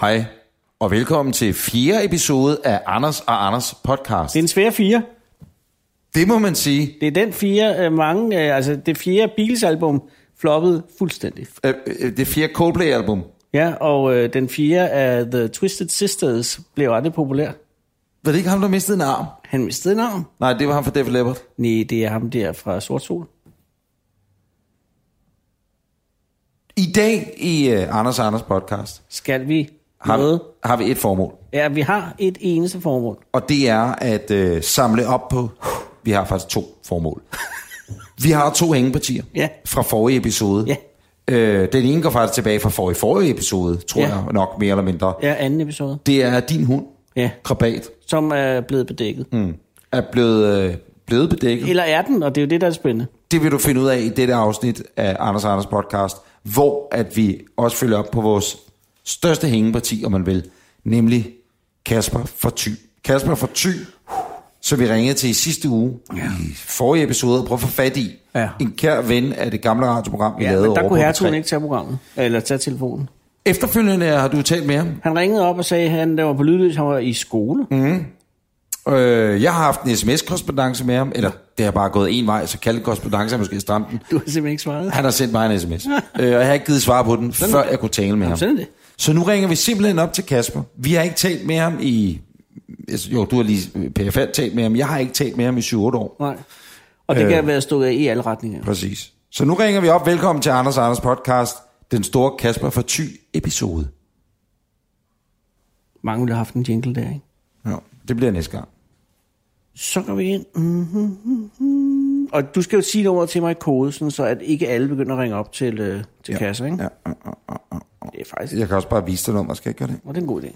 Hej, og velkommen til fjerde episode af Anders og Anders podcast. Det er en svær fire. Det må man sige. Det er den fire, øh, mange, øh, altså det fjerde Beatles-album floppede fuldstændig. Øh, øh, Det fjerde Coldplay-album. Ja, og øh, den fjerde af The Twisted Sisters blev aldrig populær. Var det ikke ham, der mistede en arm? Han mistede navn. Nej, det var ham fra Def Leppard. Nej, det er ham der fra Sort Sol. I dag i uh, Anders og Anders podcast Skal vi har, noget? har vi et formål, Ja, vi har et eneste formål. og det er at øh, samle op på... Vi har faktisk to formål. Vi har to hængepartier Ja. fra forrige episode. Ja. Øh, den ene går faktisk tilbage fra forrige, forrige episode, tror Ja. jeg nok mere eller mindre. Ja, anden episode. Det er din hund, Ja, krabat, som er blevet bedækket. Mm. er blevet, øh, blevet bedækket. Eller er den, og det er jo det, der er spændende. Det vil du finde ud af i dette afsnit af Anders og Anders podcast, hvor at vi også følger op på vores største hængeparti, om man vil, nemlig Kasper for Ty. Kasper for Ty, som vi ringede til i sidste uge, i forrige episode, og prøvede at få fat i. Ja. En kær ven af det gamle radioprogram, vi lavede men der over kunne på Hertugen P3. ikke tage programmet, eller tage telefonen. Efterfølgende har du talt med ham. Han ringede op og sagde, at han der var på lydløs, han var i skole. Mm. Øh, jeg har haft en sms-korrespondence med ham, eller det har bare gået en vej, så kaldet korrespondence er måske stramt den. Du har simpelthen ikke svaret. Han har sendt mig en sms, øh, og jeg har ikke givet svar på den, før jeg kunne tale med ham. Sådan er det. Så nu ringer vi simpelthen op til Kasper. Vi har ikke talt med ham i... altså, Jo, du har lige PFL talt med ham. Jeg har ikke talt med ham i 7-8 år. Nej. Og det øh. kan være stukket af i alle retninger. Præcis. Så nu ringer vi op. Velkommen til Anders og Anders podcast. Den store Kasper for Ty episode. Mange ville have haft en jingle der, ikke? Ja, det bliver næste gang. Så går vi ind. Mm-hmm. Og du skal jo sige nummeret til mig i kode, sådan så at ikke alle begynder at ringe op til, øh, til ja. kasser, ikke? Ja, ja, Det er faktisk... jeg kan også bare vise dig nummer. Skal jeg ikke gøre det? Og det er en god idé.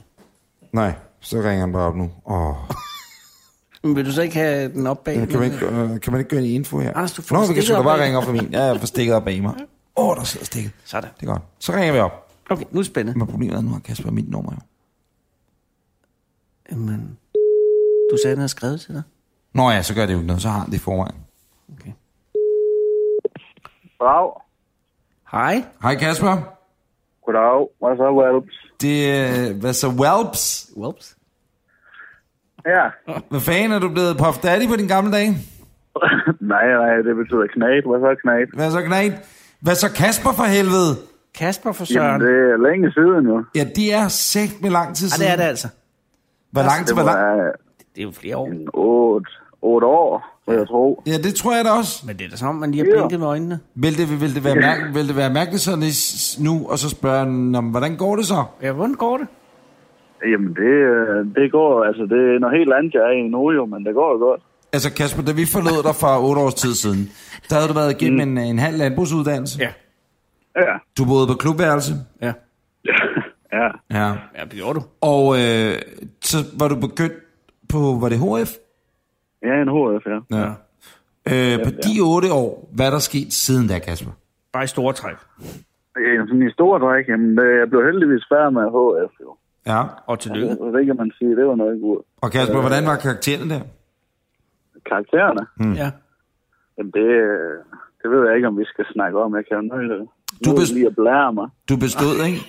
Nej, så ringer han bare op nu. Åh, Men vil du så ikke have den op bag? kan, man ikke, øh, kan man ikke gøre en info her? Anders, du får Nå, vi kan stikket sgu da op bare bag. ringe op for min. Ja, jeg får stikket op bag mig. Åh, oh, der sidder stikket. Sådan. Det er godt. Så ringer vi op. Okay, nu er det spændende. Men problemet er, at nu har Kasper mit nummer jo. Jamen, du sagde, at han havde skrevet til dig. Nå ja, så gør det jo ikke noget. Så har han det i forvejen. Okay. Brav. Hej. Hej Kasper. Goddag. Hvad så, Valps? Det er, hvad så, Whelps? Whoops. Ja. Hvad fanden er du blevet Puff Daddy på din gamle dag? nej, nej, det betyder knæt. Hvad så, knæt? Hvad så, Knæt? Hvad så, Kasper for helvede? Kasper for Søren. Jamen, det... det er længe siden jo. Ja, det er sæt med lang tid Ah, siden. det er det altså. Hvor lang tid? Det Hvor må lang... være Det er jo flere år. en otte, otte år, vil jeg tro. Ja, det tror jeg da også. Men det er da som om, man lige har Ja. blinket med øjnene. Vil det, vil det, være, mærke, vil det være mærkeligt sådan i s- nu, og så spørge, "Nå, men hvordan går det så? Ja, hvordan går det? Jamen, det, øh, det går, altså, det er noget helt andet, jeg er i nu jo, men det går jo godt. Altså Kasper, da vi forlod dig for otte års tid siden, der havde du været igennem en, en halv landbrugsuddannelse. Ja. Ja. Du boede på klubværelse. Ja, ja. Ja. ja det gjorde du. Og øh, så var du begyndt på, var det HF? Ja, en HF, ja. Ja. Øh, på de otte år, hvad er der sket siden da, Kasper? Bare i store træk. Jamen, sådan i store dræk, jamen, øh, jeg blev heldigvis færdig med HF jo. Ja. Øh. Og tillykke. Det, det kan man sige, det var noget godt. Og Kasper, hvordan var karakteren der? Karaktererne, Mm. Ja. jamen, det, øh, det ved jeg ikke, om vi skal snakke om. Jeg kan jo nødt Du du bes- lige at blære mig. Du bestod, ikke?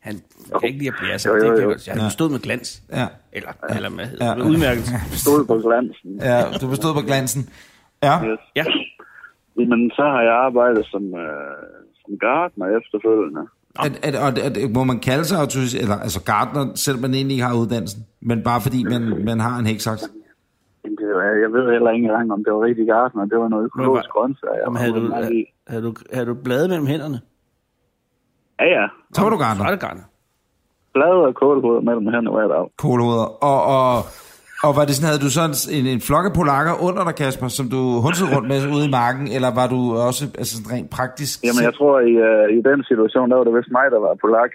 Han kan ikke lide at blære sig. Jo, jo, Det kan jo. godt- Han stod med glans. Ja. Eller, eller med, Ja. ja. med udmærkelse. Stod på glansen. ja, du bestod på glansen. Ja, Yes. Ja. Jamen, så har jeg arbejdet som, øh, som gartner efterfølgende. at, at, at, at, at, må man kalde sig autoriseret, eller altså gardner, selvom man egentlig ikke har uddannelsen, men bare fordi man, man har en hæksaks. Jamen, det var- Jeg ved heller ikke engang, om det var rigtig gartner. Det var noget økologisk var- grøntsager. jeg Om var havde, du, ude med i. havde, du, havde du blade mellem hænderne? Ja, ja. Så var du Så er gardner, det garner. Blade og kålhoved mellem hænder hver dag. kålhoveder. Og, og, og var det sådan, havde du sådan en, en flok af polakker under dig, Kasper, som du hundsede rundt med ude i marken, eller var du også altså, sådan rent praktisk? Jamen, jeg tror, i, øh, i den situation, der var det vist mig, der var polak.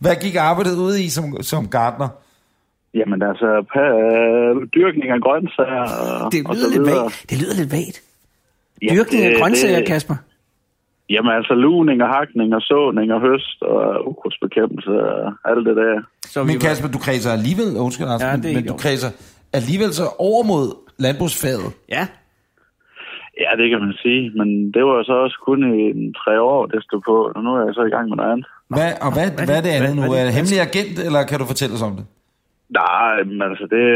Hvad gik arbejdet ude i som, som gardner? Jamen, altså, pa- øh, dyrkning af grøntsager og, Det og så lyder, lidt videre. vagt. det lyder lidt vagt. Ja, Dyrkning af det- grøntsager, det- Kasper. Jamen, altså, luning og hakning og såning og høst og ukrudtsbekæmpelse og alt det der. Så Men vi var, Kasper, du kredser alligevel, undskyld, Anders, Ja, ja, det er men, men helt du okay. kredser alligevel så over mod landbrugsfaget. ja, Ja, det kan man sige, men det var jo så også kun i en tre år, det stod på, og nu er jeg så i gang med noget andet. Hvad, og hvad, hvad, er hvad er det? det andet Hvad- nu? hvad er Er det? det hemmelig agent, eller kan du fortælle os om det? Nej, men altså det,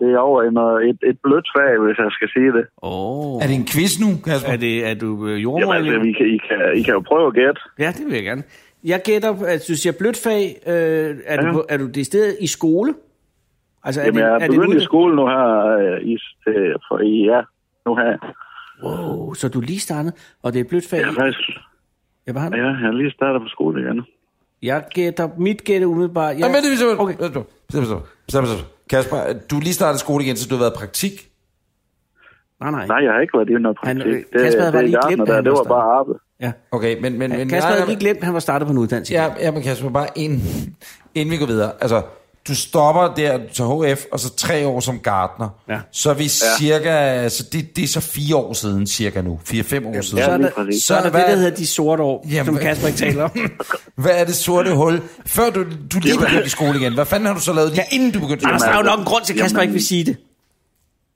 det er over i noget, et, et blødt fag, hvis jeg skal sige det. Åh. Oh. Er det en quiz nu, Kasper? Er, det, er du øh, jordmor? Jamen, altså, eller- vi kan, I, kan, I kan jo prøve at gætte. Ja, det vil jeg gerne. Jeg gætter, at du siger blødt fag. Øh, er, du, Ja. på- er du det sted i skole? Altså, er Jamen, det, jeg er er begyndt det i skole nu her, øh, i, øh, for i, ja, nu her. Wow, så du er lige startet, og det er blødt fag. Jeg er Ja. faktisk, Jeg, bare, ja, jeg er lige startet på skole igen. jeg gætter, mit gætter umiddelbart. Jeg, Ja, men det er okay. okay. Stop, stop, stop, stop. Kasper, du er lige startet skole igen, så du har været i praktik. Nej, nej. Nej, jeg har ikke været i noget Han- praktik. det, Kasper havde det, bare i lige Gartner glemt, at der, han det var var bare arbejde. Ja. Okay, men... men, men Kasper nej, havde nej, lige glemt, at han var startet på en uddannelse. Ja, ja, men Kasper, bare inden, inden vi går videre. Altså, du stopper der til HF, og så tre år som gartner. Ja. Så er vi cirka... Så det, det er så fire år siden cirka nu. Fire-fem år siden. Så er lige der, præcis. så er der Hvad- det, der hedder de sorte år, Jamen, Jamen, som hvad- Kasper ikke taler om. Hvad er det sorte hul? Før du, du lige Jamen. begyndte i skole igen. Hvad fanden har du så lavet lige inden du begyndte i Anders, skole? der er jo altså- nok en grund til, at Kasper Jamen- ikke vil sige det.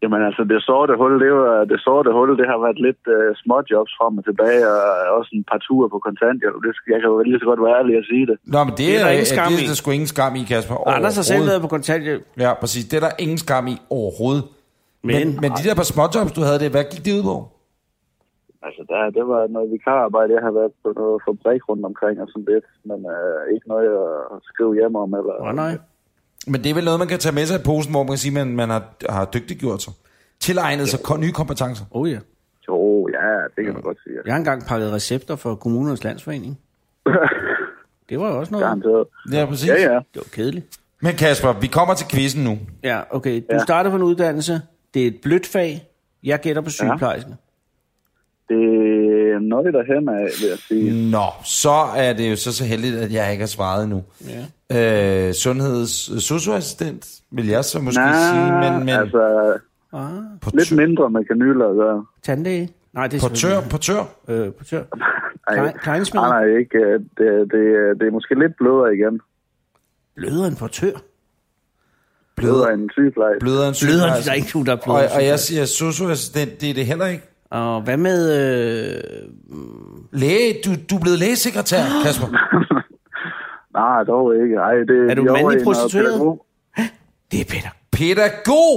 Jamen altså, det sorte hul, det, var, det sorte hul, det har været lidt uh, småjobs frem og tilbage, og også en par ture på kontanthjælp. Det skal, jeg kan jo lige så godt være ærlig at sige det. Nå, men det, Det er er, der det, ingen er, skam det er i. der sgu ingen skam i, Kasper. Anders har selv overhovedet. været på kontanthjælp. Ja, præcis. Det er der ingen skam i overhovedet. Men, men, Men- men de der par småjobs, du havde det, hvad gik det ud på? Altså, der, det var noget vikararbejde, jeg har været på noget fabrik rundt omkring og sådan lidt, men uh, ikke noget at skrive hjem om. Eller, Åh, nej. Men det er vel noget, man kan tage med sig i posen, hvor man kan sige, at man, man har, har dygtiggjort sig. Tilegnet sig kon- nye kompetencer. Åh oh, ja. Jo, ja, det kan man godt sige. Jeg har engang pakket recepter for kommunernes landsforening. Det var jo også noget. Garanteret. Ja, præcis. Ja, ja. Det var kedeligt. Men Kasper, vi kommer til quizzen nu. Ja, okay. Du Ja. starter på en uddannelse. Det er et blødt fag. Jeg gætter på sygeplejersken. Det er noget derhen af, vil jeg sige. Nå, så er det jo så, så heldigt, at jeg ikke har svaret endnu. Ja. Øh, sundheds socioassistent, vil jeg så måske Nej, sige, men, men altså, altså, Ah, lidt mindre med kanyler at gøre. tandlæge. Nej, det er portør, portør. selvfølgelig- Øh, portør. Ej, Klein- Kleinsmed. nej, nej, ikke. øh, Det, det, det er måske lidt blødere igen. Bløder en portør. Blødere end en sygeplejerske. Blødere end Bløder en, sygeplejerske. der er ikke nogen, der er Og, bløder. og jeg siger socioassistent, det er det heller ikke. og hvad med... Øh, Læge, du, du er blevet lægesekretær, Kasper. Nej, dog ikke. Ej, det, Er du en vi over mandlig i noget prostitueret? pædagog. det er Peter. Pædagog!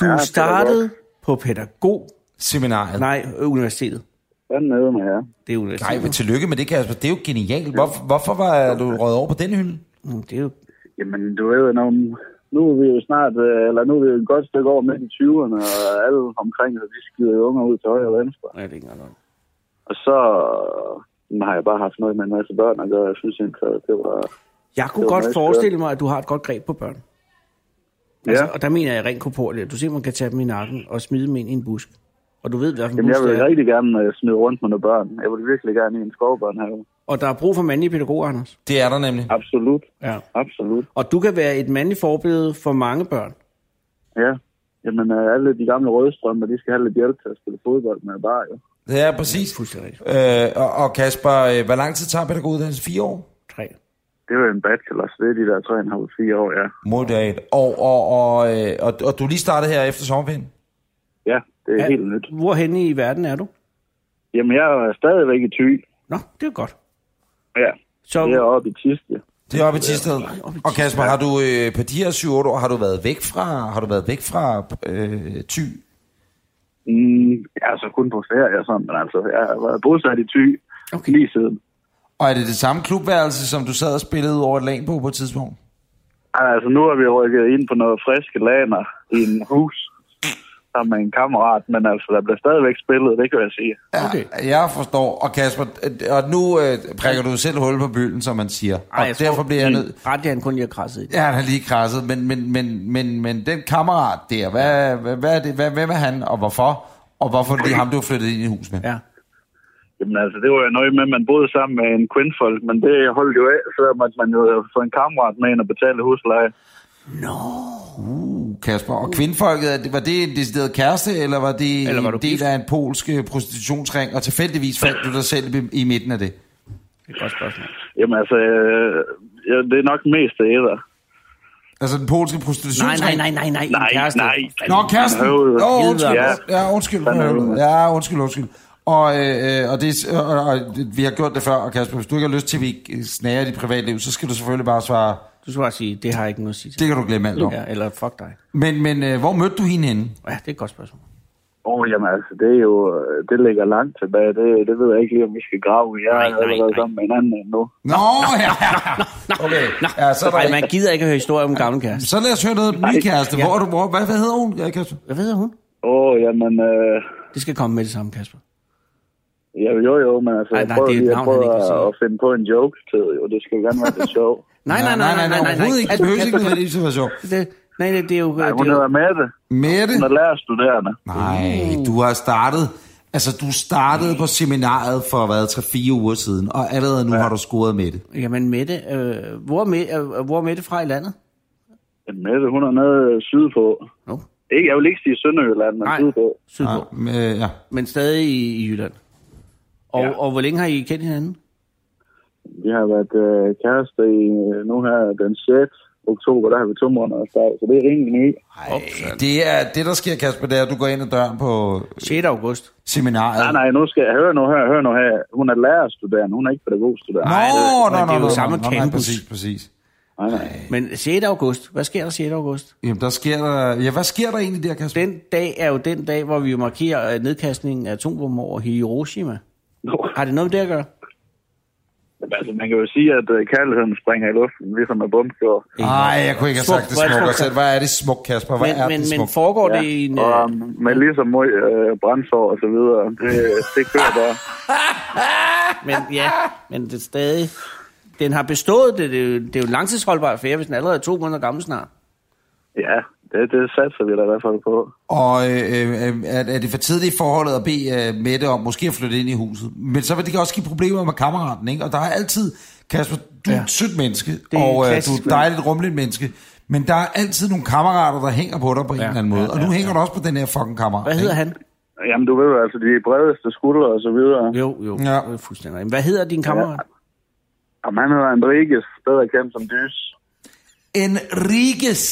Du Ja, ja, pædagog. startede på pædagog... Seminariet. Nej, øh, universitetet. Hvad nede med jer? Det er Nej, universitetet. men tillykke med det, Kasper. Det er jo genialt. Hvor, hvorfor var du røget over på den hylde? Mm, Det er jo... Jamen, du ved, når, nu er vi jo snart, øh, eller nu er vi jo et godt stykke over midt i 20'erne, og alle omkring, så de skider jo unger ud til højre og venstre. Nej, det er ikke engang noget. Og så øh, har jeg bare haft noget med en masse børn at gøre. Jeg synes egentlig, at det var... Jeg kunne Det var godt meget forestille mig, at du har et godt greb på børn. Ja, Altså, Og der mener jeg rent korporligt. Du simpelthen kan tage dem i nakken og smide dem ind i en busk. Og du ved, hvilken Jamen, jeg busk det vil er. rigtig gerne øh, smide rundt med nogle børn. Jeg vil virkelig gerne i en skovbørnehave. Og der er brug for mandlige pædagoger, Anders. Det er der nemlig. Absolut. Ja. Absolut. Og du kan være et mandligt forbillede for mange børn. Ja. Jamen, øh, alle de gamle rødstrømmer, de skal have lidt hjælp til at spille fodbold med bare, jo. Det er præcis. Fuldstændig rigtigt. Øh, og, og Kasper, øh, hvor lang tid tager pædagoguddannelsen? Fire år? Tre. Det er jo en bachelor, så det er de der tre og en halv, fire år, ja. Moddaget. Og, og, og, øh, og, og du er lige startet her efter sommerferien? Ja, det er Ja. ja. helt nyt. Hvorhen i verden er du? Jamen, jeg er stadigvæk i Thy. Nå, det er godt. Ja, Så, det er oppe i Tiste. Det er oppe i Tisted. oppe i Og Kasper, har du øh, på de her 7-8 år, har du været væk fra, har du været væk fra øh, ty? Mm, jeg er så kun på ferie og sådan, men altså, jeg har været bosat i Thy Okay. okay. lige siden. Og er det det samme klubværelse, som du sad og spillede over et lag på på et tidspunkt? Ej, Altså, nu har vi rykket ind på noget friske laner i en hus sammen med en kammerat, men altså, der bliver stadigvæk spillet, det kan jeg sige. Okay. Ja, jeg forstår. Og Kasper, øh, og nu øh, prikker du selv hul på bylden, som man siger. Ej, og jeg derfor tror- bliver jeg nødt... ret det, han kun lige har krasset i det. Ja, han har lige krasset, men, men, men, men, men den kammerat der, hvad, hvad, hvad er det, hvad, hvem er han, og hvorfor? Og hvorfor er det lige ham, du har flyttet ind i huset med? Ja. Jamen altså, det var jo nøje med, at man boede sammen med en kvindfolk, men det holdt jo af, så måtte man jo få en kammerat med ind og betale husleje. Uh, Kasper. Og kvindfolket, er det- var det en decideret kæreste, eller var det Eller var du en del gift? af en polsk øh, prostitutionsring, og tilfældigvis fandt du dig selv i- i midten af det? Det er et godt spørgsmål. Jamen altså, øh, ja, det er nok mest af æder. Altså den polske Nej, prostitutionsring? nej, nej, nej, nej. Nej, kæreste. nej. Nå, kæresten. Høvede. Nå, undskyld. Ja. Ja, undskyld. Fandme høvede. høvede. Ja, undskyld, undskyld. Og, øh, øh, og, det, og, og, og vi har gjort det før, og Kasper, hvis du ikke har lyst til, at vi snager dit privatliv, så skal du selvfølgelig bare svare, Du skal bare sige, det har jeg ikke noget at sige til. det kan du glemme alt om. Ja, eller fuck dig. Men, men øh, hvor mødte du hende henne? Ja, det er et godt spørgsmål. Åh, oh, jamen altså, det er jo, øh, det ligger langt tilbage. Det, det ved jeg ikke lige, om vi skal grave. i. Jeg Nej, er nej, allerede nej. sammen med en anden nu. Nå, ja, ja. Okay. Ja, så, er der Nej, ikke. man gider ikke at høre historier om gamle kæreste. så lad os høre noget om den nye kæreste. Hvor er du, hvor, hvad, hvad hedder hun, ja, Kasper? Hvad ved hun? Åh, oh, jamen, øh, Det skal komme med det samme, Kasper. ja, jo jo, men altså, Ej, jeg nej, prøver det er et lige at, navn, prøve han ikke kan sige. at, at finde på en joke til, jo. Det skal jo gerne være lidt sjov. Nej, nej, nej, nej, nej, nej, nej, overhovedet ikke. Det behøver ikke Kasper, nødvendigvis at være sjov. det, nej, det, det er jo... Nej, det hun er jo hedder Mette. Mette? Hun er lærerstuderende. Nej, du har startet... Altså, du startede på seminaret for, hvad, 3-4 uger siden, og allerede nu har du scoret med det. jamen, Mette, øh, hvor, er Mette, øh, hvor er Mette fra i landet? Men Mette, hun er nede sydpå. No. Ikke, jeg vil ikke sige Sønderjylland, men Nej, sydpå. Ja, Sydpå. men, øh, ja. Men stadig i, i Jylland. Og, ja. Ja. og hvor længe har I kendt hinanden? Vi har været øh, kærester i øh, nu her den 6. oktober, der har vi to måneder dag, så det er rimelig ny. Ej, det, er, det, der sker, Kasper, det er, at du går ind ad døren på 6. august. seminaret. Ah, Nej, nej, nu skal jeg høre nu her, hør nu her. Hun er lærerstuderende, hun er ikke pædagogstuderende. Nej, det- Nå, nå, men det er nå, jo nå, nå, samme nå, nej, campus. Præcis, præcis. nej, nej. Men 6. august. Hvad sker der 6. august? Jamen, der sker der... Ja, hvad sker der egentlig der, Kasper? Den dag er jo den dag, hvor vi jo markerer øh, nedkastningen af atombomber over Hiroshima. Nå, Har det noget med det at gøre? altså, man kan jo sige, at øh, kærligheden springer i luften, ligesom med bumskjord. Nej, jeg kunne ikke have Smuk, sagt det hvor er det smukt. smukt, Selv. Hvad er det smukt, Kasper? Hvad er Men, men, det men smukt? um, foregår det i en... Og Øh, med ligesom mod øh, brændsår og så videre. Det, det kører bare. men ja, men det er stadig... Den har bestået, det, det, er jo, det er jo en langtidsholdbar affære, hvis den allerede er to måneder gammel snart. Ja, det, det satser vi da i hvert fald på. Og øh, øh, øh, er, er det for tidligt i forholdet at bede øh, Mette om måske at flytte ind i huset? Men så vil det også give problemer med kammeraten, ikke? Og der er altid... Kasper, du ja. er Ja. et sødt menneske, er og øh, du er klassisk, et dejligt rummeligt menneske. Men der er altid nogle kammerater, der hænger på dig på en eller anden måde. og nu hænger du også på den her fucking kammerat. Hvad hedder han? Jamen, du ved jo, altså, de bredeste skuldre og så videre. Jo, jo, Ja. ja. fuldstændig. Men Hvad hedder din kammerat? Jamen, han hedder Enriquez, bedre kendt som Dys. Enriques!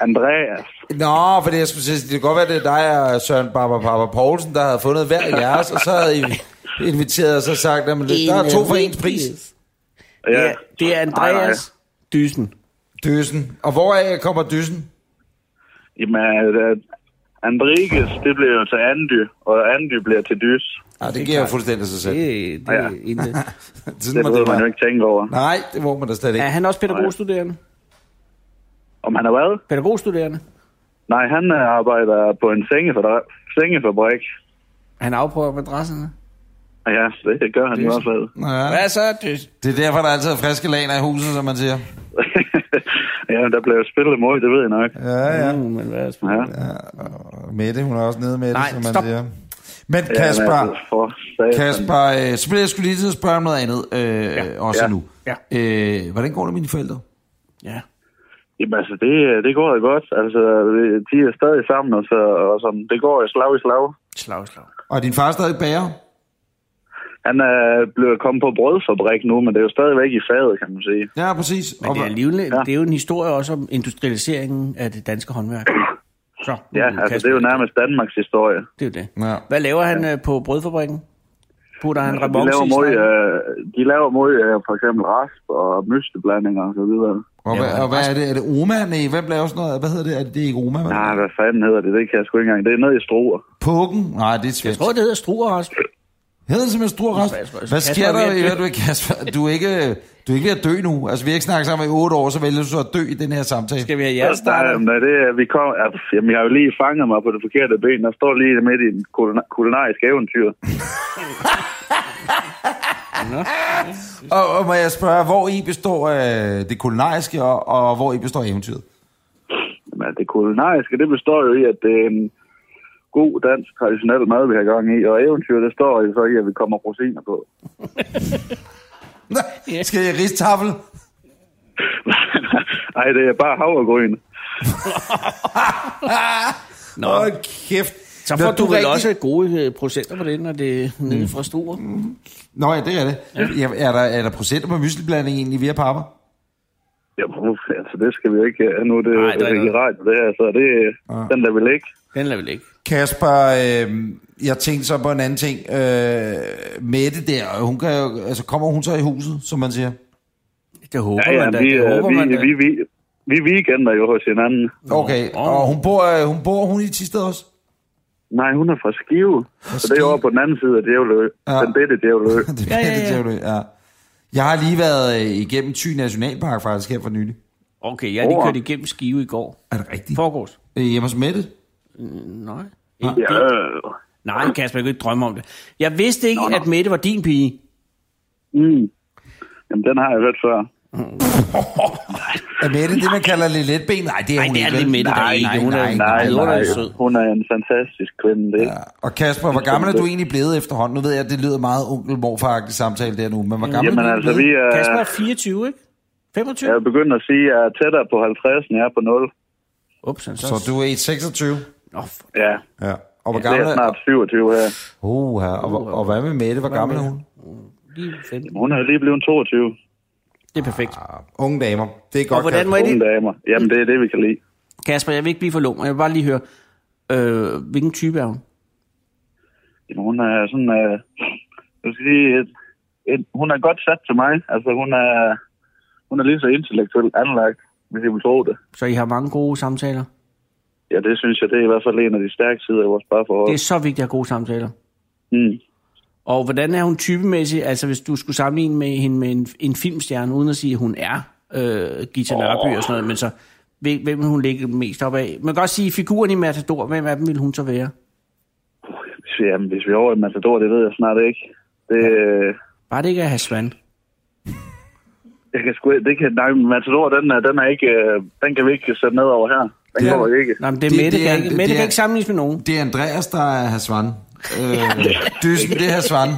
Andreas. Nå, for det, jeg skulle sige, det kan godt være, det er dig og Søren Barber Barber Poulsen, der havde fundet hver jeres, og så havde I inviteret og så sagt, at der er to for ens pris. Ja, det er Andreas Nej, nej. Dysen. Døsen. Og hvoraf kommer døsen? Jamen, uh, Andriges, det bliver jo til Andy, og Andy bliver til Dys. Ja, Ah, det giver jo fuldstændig sig selv. Det, det ja. Ja. er intet. Sådan Det må behøver man jo være. ikke tænke over. Nej, det må man da slet Er ikke. han også pædagogstuderende? Om han er hvad? Pædagogstuderende? Nej, han øh, arbejder på en sengefabrik. sengefabrik. Han afprøver madrasserne. Ja, det gør han i hvert fald. Ja. Hvad så, Dysen? Det er derfor, der altid er friske laner i huset, som man siger. ja, der bliver jo spillet mod, det ved jeg nok. Ja, ja. Mm, men hvad er det? Ja. Og Mette, hun er også nede med det, Nej, som man stop. siger. Men Ja, men Kasper, altså, for satan. Kasper, øh, så bliver jeg skulle lige til at spørge om noget andet, øh, også Ja. nu. Ja. Øh, hvordan går det med dine forældre? ja. Jamen altså, det, det går jo godt. Altså, vi- de er stadig sammen, og, så, og sådan, det går jo slag i slag. Slag, slag. Og er din far stadig bager? Han er blevet kommet på brødfabrik nu, men det er jo stadigvæk i faget, kan man sige. Ja, præcis. Men det er, alligevel, ja. det er jo en historie også om industrialiseringen af det danske håndværk. Så, nu Ja, Kasper. altså det er jo nærmest Danmarks historie. Det er jo det. Ja. Hvad laver han øh, på brødfabrikken? Putter han Altså, De rebonce laver i mod, stegen? øh, de laver mod øh, for eksempel rasp og mysteblandinger og så videre. Og, hvad, Ja, og hvad er det? Er det Oma? Nej, hvem laver sådan noget? Hvad hedder det? Er det, det er ikke Oma? Nej, Nej. Ah, hvad fanden hedder det? Det kan jeg sgu ikke engang. Det er nede i Struer. Pukken? Nej, det er svensk. Jeg tror, det hedder struerhasp. Hedder det simpelthen Struer Rasp? Jeg tror, jeg tror, Hvad Kasper sker er ved der at i dø. øvrigt med Kasper? Du er, ikke, du er ikke ved at dø nu. Altså, vi har ikke snakket sammen i otte år, så vælger du så at dø i den her samtale. Skal vi have jer Øhm, Nej, startet? men det er, vi kom, altså, jamen, jeg har jo lige fanget mig på det forkerte ben. Der står lige midt i en kulina- kulinarisk eventyr. Og, og må jeg spørge, hvor I består øh, det kulinariske, og, og hvor I består eventyret? Men altså, det kulinariske, det består jo i, at det er en god dansk traditionel mad, vi har gang i. Og eventyr, det står jo så i, at vi kommer rosiner på. Ja. Skal jeg ristafel? Nej, det er bare havregryn. Nå, Åh, kæft. Så Nå, får du, er vel rigtig- også gode øh, procenter på det, når det Mm. er nede fra Struer. Nå ja, det er det. Ja. Er, der, er der procenter på mysleblanding egentlig via papper? Jamen, uf, altså, det skal vi jo ikke. øh, Nu er det, Nej, Nej, det er det er ikke noget. radio, det her, så det, den der vil ikke. Den lader vi ikke. Kasper, øh, jeg tænkte så på en anden ting. Øh, Mette der, hun kan jo, altså, kommer hun så i huset, som man siger? Det håber Ja, ja, man da. vi, det øh, håber vi, man da. vi, vi, vi weekender jo hos hinanden. Okay, Nå. og hun bor, øh, hun bor hun i Tisted også? Nej, hun er fra Skive. Så det er Skive. over på den anden side af Djævlø. Ja. Den bedte Djævlø. det Ja, ja, ja, ja, ja. ja. Det, ja. Jeg har lige været øh, igennem Thy Nationalpark faktisk her for nylig. Okay, jeg er lige Over. kørt igennem Skive i går. Er det rigtigt? Forgårs. Øh, Hjemme hos Mette? Nej. Ja, Ikke det. øh. Nej, Kasper, jeg kan ikke drømme om det. Jeg vidste ikke, at Mette var din pige. mm. Jamen, den har jeg hørt før. Er Mette det, man kalder lidt letben? Nej, det er Nej, hun det er ikke. lidt vel? Mette, der nej, ikke. nej, Hun er- nej, Nej, nej, hun er nej, jo sød. hun er en fantastisk kvinde, det. Ja. Ja. Og Kasper, hvor gammel er du egentlig blevet efterhånden? Nu ved jeg, at det lyder meget onkel morfar samtale der nu, men hvor gammel Jamen er du altså, blevet? vi er, Kasper er 24, ikke? 25? jeg er begyndt at sige, at jeg er tættere på 50, end jeg er på 0. Ups, han så... Så du er i 26? Nå, for... Ja, Ja. Og hvor det gammel er er... snart 27 her. Oh, ja. og, hvor- og hvad med Mette? Hvor gammel er hun? Lige fedt. Hun er lige blevet 22. Det er perfekt. Ah, Unge damer. Det er godt, Og hvordan må Kasper. jeg Unge lige... damer. Jamen, det er det, vi kan lide. Kasper, jeg vil ikke blive for lung, og jeg vil bare lige høre, øh, hvilken type er hun? Jamen, hun er sådan... Øh, jeg skal sige, et, et, hun er godt sat til mig. Altså, hun er, hun er lige så intellektuelt anlagt, hvis I vil tro det. Så I har mange gode samtaler. Ja, det synes jeg, det er i hvert fald en af de stærke sider af vores parforhold. Det er så vigtigt at have gode samtaler. Mm. Og hvordan er hun typemæssigt? Altså, hvis du skulle sammenligne med hende med en, en filmstjerne, uden at sige, at hun er øh, Gita oh. Nørby og sådan noget, men så hvem hvem vil hun lægge mest op af? Man kan også sige, figuren i Matador, hvem af dem vil hun så være? Hvis vi- Jamen, hvis vi er over i Matador, det ved jeg snart ikke. Det, øh, Bare det ikke er Hasvan. jeg kan sgu, det kan, nej, men Matador, den, er, den, er ikke, øh, den kan vi ikke sætte ned over her. Den Det er- ja. kommer vi ikke. Nej, men det, Det- det Mette, det det, er- kan, ikke, Mette det det, er- kan ikke sammenlignes med nogen. Det er Andreas, der er Hasvan. Øh, dysen, det er Hasvan.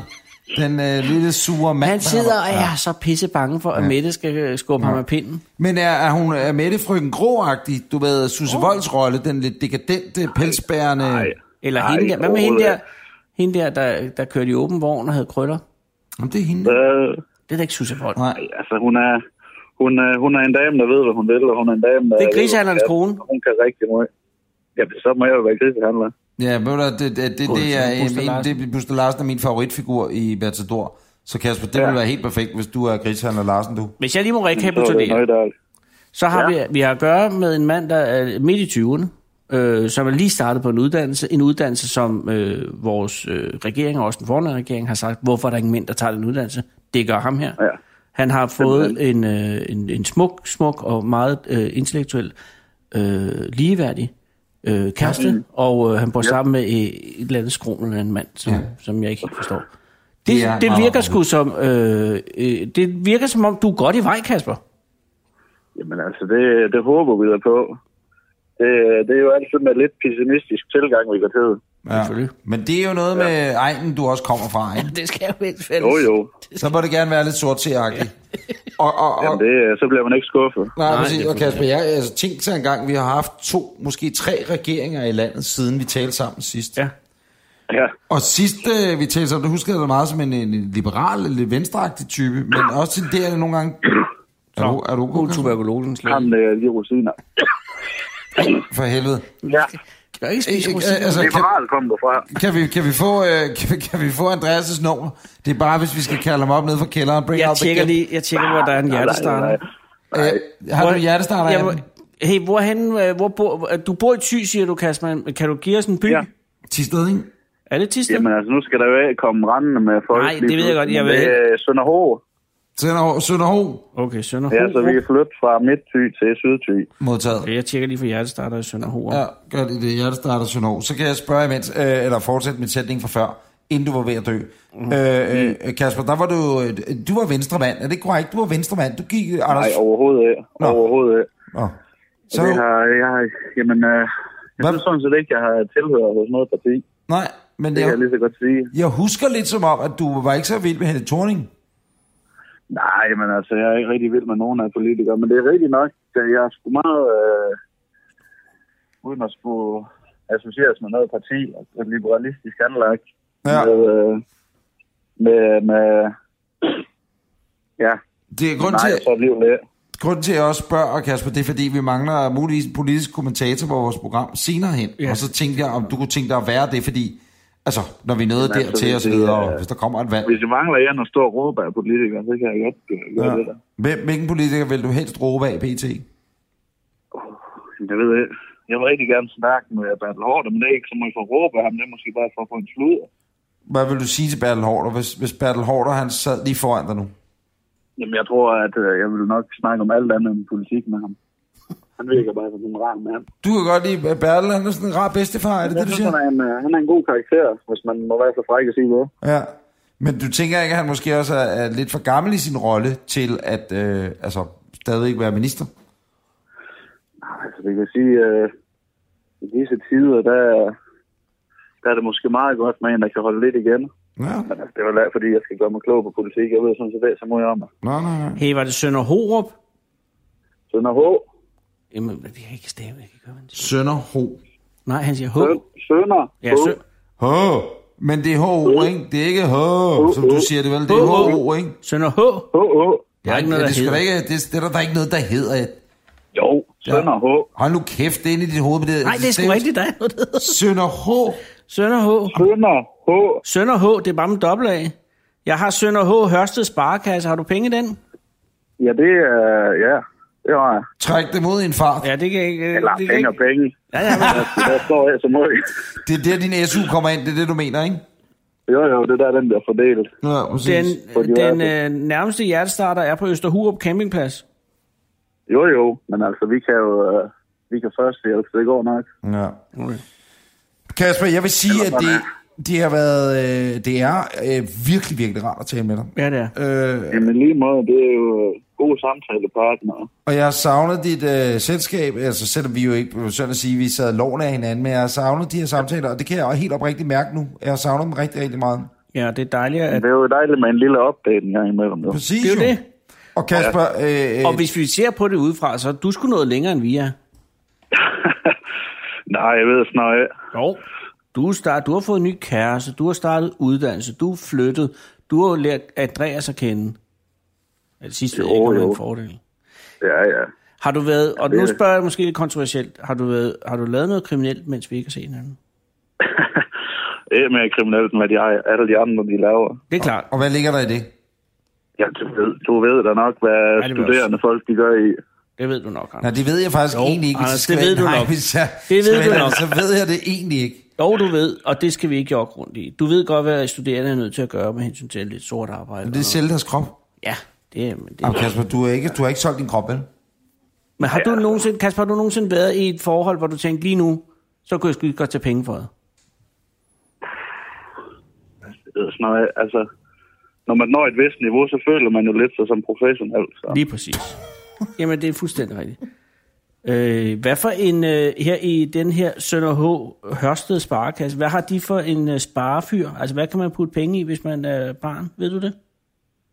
Den øh, lille sure mand. Han der- sidder og er så pisse bange for, at ja. Mette skal øh, skubbe ja. ham af pinden. Men er, er hun er Mette Frøken Gråagtig? Du ved, Susse oh. Volds rolle, den lidt dekadente, pelsbærende... Nej, Eller Nej, hende der. Hvad med hende der, overhovedet hende der, der, der kørte i åben vogn og havde krøller? Jamen, det er hende. øh, Det er da ikke Susse Vold. Nej. altså, hun er, hun, er, hun er en dame, der ved, hvad hun vil, og hun er en dame, der... Det er ved, hvad grisehandlerens hun kan. kone. Hun kan rigtig meget. Ja, så må jeg jo være grisehandler. Ja, ved du, hvad, det, det, det, God, det, er, så Buster en, Larsen. det er Buster Larsen er min favoritfigur i Matador. Så Kasper, det ja. Ja. ville være helt perfekt, hvis du er Grishandler Larsen, du. Hvis jeg lige må Så er det rekapitulere, noget, der... så har Ja. vi, vi har at gøre med en mand, der er midt i 20'erne, øh, som er lige startet på en uddannelse. En uddannelse, som øh, vores øh, regering og også den fornærende regering har sagt, hvorfor er der ikke mænd, der tager den uddannelse? Det gør ham her. Ja. Han har fået en, øh, en, en smuk, smuk og meget øh, intellektuel, øh, ligeværdig øh, kæreste, og øh, han bor sammen med øh, et eller andet skron eller en mand, som, ja. som jeg ikke helt forstår. Det, Det er det, det meget virker sgu som, øh, øh, det virker som om, du er godt i vej, Kasper. Jamen altså, det, det håber vi da på. Det, det er jo altid med lidt pessimistisk tilgang, vi går til. det. Ja. Selvfølgelig. Men det er jo noget med egnen, du også kommer fra, ikke? Det skal jo helst fælles. Jo jo, Så må det gerne være lidt sort ja. og, og, og, Jamen, det, så bliver man ikke skuffet. Nej, Nej, Nej det præcis. er Og Kasper, jeg, altså, tænk sig engang, vi har haft to, måske tre regeringer i landet, siden vi talte sammen sidst. Ja. Ja, Og sidst øh, vi talte sammen, der husker jeg dig meget som en, en liberal, en lidt venstreagtig type, men også til det, er det nogle gange... Er du, er du okay, God Kasper? tuberkulosen ham slet. med de rosiner. For helvede. Ja, Skal jeg ikke spise Øh, øh, rosiner? altså, kan, liberal kom du fra. kan, vi, kan, vi få, øh, kan, vi, kan vi få Andreas' nummer? Det er bare, hvis vi skal kalde ham op nede fra kælderen. Bring Jeg out the tjekker kid. lige, jeg tjekker, hvor der er en hjertestarter. Øh, har du en hjertestarter? Jeg må- Jan? Hey, hvorhen, øh, hvor bor, øh, du bor i Thy, siger du, Kasper. men Kan du give os en by? Ja. Tisted, ikke? Er det Tisted? Jamen altså, nu skal der jo ikke komme rendende med folk. Nej, det ved jeg godt, jeg ved ved. Sønderho. Sønderho, Sønderho Okay, Sønderho. Ja, så vi kan flytte fra Midtty til Sydty. modtaget. Okay, jeg tjekker lige for hjertestarter i Sønderho. Ja, gør det det. Jeg starter Sønderho. Så kan jeg spørge imens, øh, eller fortsætte min sætning fra før, inden du var ved at dø. Mhm. Mm. Øh, øh, Kasper, der var du, øh, du var venstremand. Er det ikke korrekt? Du var venstremand. Du gik, øh, Anders... Nej, overhovedet ikke. Nå. Overhovedet ikke. Nå. Så, Så... Det har, jeg, har, jamen, øh, jeg Hvad- synes sådan set ikke, jeg har tilhørt hos noget parti. nej, men Det kan jeg jeg, lige så godt sige. jeg husker lidt som om, at du var ikke så vild med Helle Thorning. Nej, men altså, jeg er ikke rigtig vild med nogen af politikere, men det er rigtigt nok, at jeg er sgu meget, øh, uden at skulle associeres med noget parti, og liberalistisk anlagt, Ja. med, øh, med, med, ja, Det er grund nej, til, så er livet lidt. Grunden til, at jeg også spørger, Kasper, det er, fordi vi mangler muligvis en politisk kommentator på vores program senere hen. Ja. Og så tænkte jeg, om du kunne tænke dig at være det, fordi Altså, når vi nåede dertil Jamen, altså, til og så det er- videre, og hvis der kommer et valg. Hvis jeg mangler jer nogle store råber af politikere, så kan jeg godt øh, gøre ja. det der. Hvem, hvilken politiker vil du helst råbe af, PT? Jeg ved ikke. Jeg vil rigtig gerne snakke med Bertel Hårder, men det er ikke så meget for at råbe af ham. Det er måske bare for at få en sludder. Hvad vil du sige til Bertel Hårder, hvis, hvis Bertel Hårder han sad lige foran dig nu? Jamen, jeg tror, at øh, jeg vil nok snakke om alt andet end politik med ham. Han virker bare som en rar mand. Du kan godt lide at Bertel, han er sådan en rar bedstefar, er det Jeg det, du synes, han siger? er, en, øh, han er en god karakter, hvis man må være så fræk at sige det. Ja. Men du tænker ikke, at han måske også er, er lidt for gammel i sin rolle til at øh, altså, stadigvæk være minister? Altså, det kan sige, øh, i disse tider, der, der er det måske meget godt med en, der kan holde lidt igen. Ja. Men altså, det var da, fordi jeg skal gøre mig klog på politik. Jeg ved sådan set det, så må jeg om mig. Nå, nej, nej. Hey, var det Sønder Horup? Sønder H. Jamen, jeg kan ikke stave, jeg kan ikke høre, hvad han siger. Sønder Ho. Nej, han siger H. Søn- Sønder Ja, H. sø. Ho. Men det er H, ikke? Det er ikke H, som du siger det vel. Det er H, ikke? Sønder H. H. H. Der er ikke noget, ja, der det skal hedder. da ikke, det, det er der, der er ikke noget, der hedder. Jo, Sønder H. Hold nu kæft, det er inde i dit hoved. Med det, Nej, det er sgu rigtigt, der er noget, der hedder. Sønder H. Sønder H. Sønder H. Sønder H, det er bare med dobbelt af. Jeg har Sønder H. Hørsted Sparekasse. Har du penge i den? Ja, det er... Øh, ja, det var jeg. Træk dem ud i en fart. Ja, det kan jeg ikke... øh, Eller det kan jeg penge og ikke. penge. Ja, ja, men, Altså, Der står jeg så meget. Det er der, din SU kommer ind. Det er det, du mener, ikke? Jo, jo, det der er den, der er fordelt. Ja, præcis. den Fordi den jeg øh, nærmeste hjertestarter er på Østerhurup Campingplads. Jo, jo, men altså, vi kan jo... Øh, vi kan først hjælpe, så det går nok. Ja. Kasper, jeg vil sige, at det, det har været, øh, det er øh, virkelig, virkelig rart at tale med dig. Ja, det er. Øh, Jamen lige måde, det er jo øh, gode samtalepartnere. og jeg har savnet dit øh, selskab, altså selvom vi jo ikke, sådan at sige, vi sad loven af hinanden, men jeg har savnet de her samtaler, og det kan jeg helt oprigtigt mærke nu. Jeg har savnet dem rigtig, rigtig meget. Ja, det er dejligt, at... Det er jo dejligt med en lille update en gang imellem. Jo. Præcis Det er jo det. Og Kasper, øh, øh, Og hvis vi ser på det udefra, så er du skulle noget længere end vi er. Nej, jeg ved snart ikke. Jo. Du, er start, du har fået en ny kæreste, du har startet uddannelse, du er flyttet, du har lært Andreas at kende. Ja, det sidste jo, Jo, ikke om det er jo. en fordel. Ja, ja. Har du været, og nu det- spørger jeg måske lidt kontroversielt, har du, været, har du lavet noget kriminelt, mens vi ikke har set hinanden? Ikke mere kriminelt, end hvad de, alle de andre, de laver. Det er klart. og hvad ligger der i det? Ja, du ved, du ved da nok, hvad det ja, vil jeg studerende folk, de gør i. Det ved du nok, Anders. Nej, det ved jeg faktisk Jo, egentlig ikke. hvis Anders, skal det være- ved du Nej, nok. Hvis jeg, Det ved så, du nok. Så ved jeg det egentlig ikke. Jo, du ved, og det skal vi ikke jogge rundt i. Du ved godt, hvad studerende er nødt til at gøre med hensyn til lidt sort arbejde. Men det er og- selv deres krop. Ja, det, er- men det Jamen, Kasper, du har ikke, du har ikke solgt din krop, vel? Men har du nogensinde, Kasper, har du nogensinde været i et forhold, hvor du tænkte lige nu, så kunne jeg sgu godt tage penge for det? Det ved Sådan noget. Altså, når man når et vist niveau, så føler man jo lidt sig som professionel. Så. Lige præcis. Jamen, det er fuldstændig rigtigt. Øh, hvad for en, øh, her i den her Sønder H. Hørsted Sparekasse, hvad har de for en øh, sparefyr? Altså, hvad kan man putte penge i, hvis man er barn? Ved du det?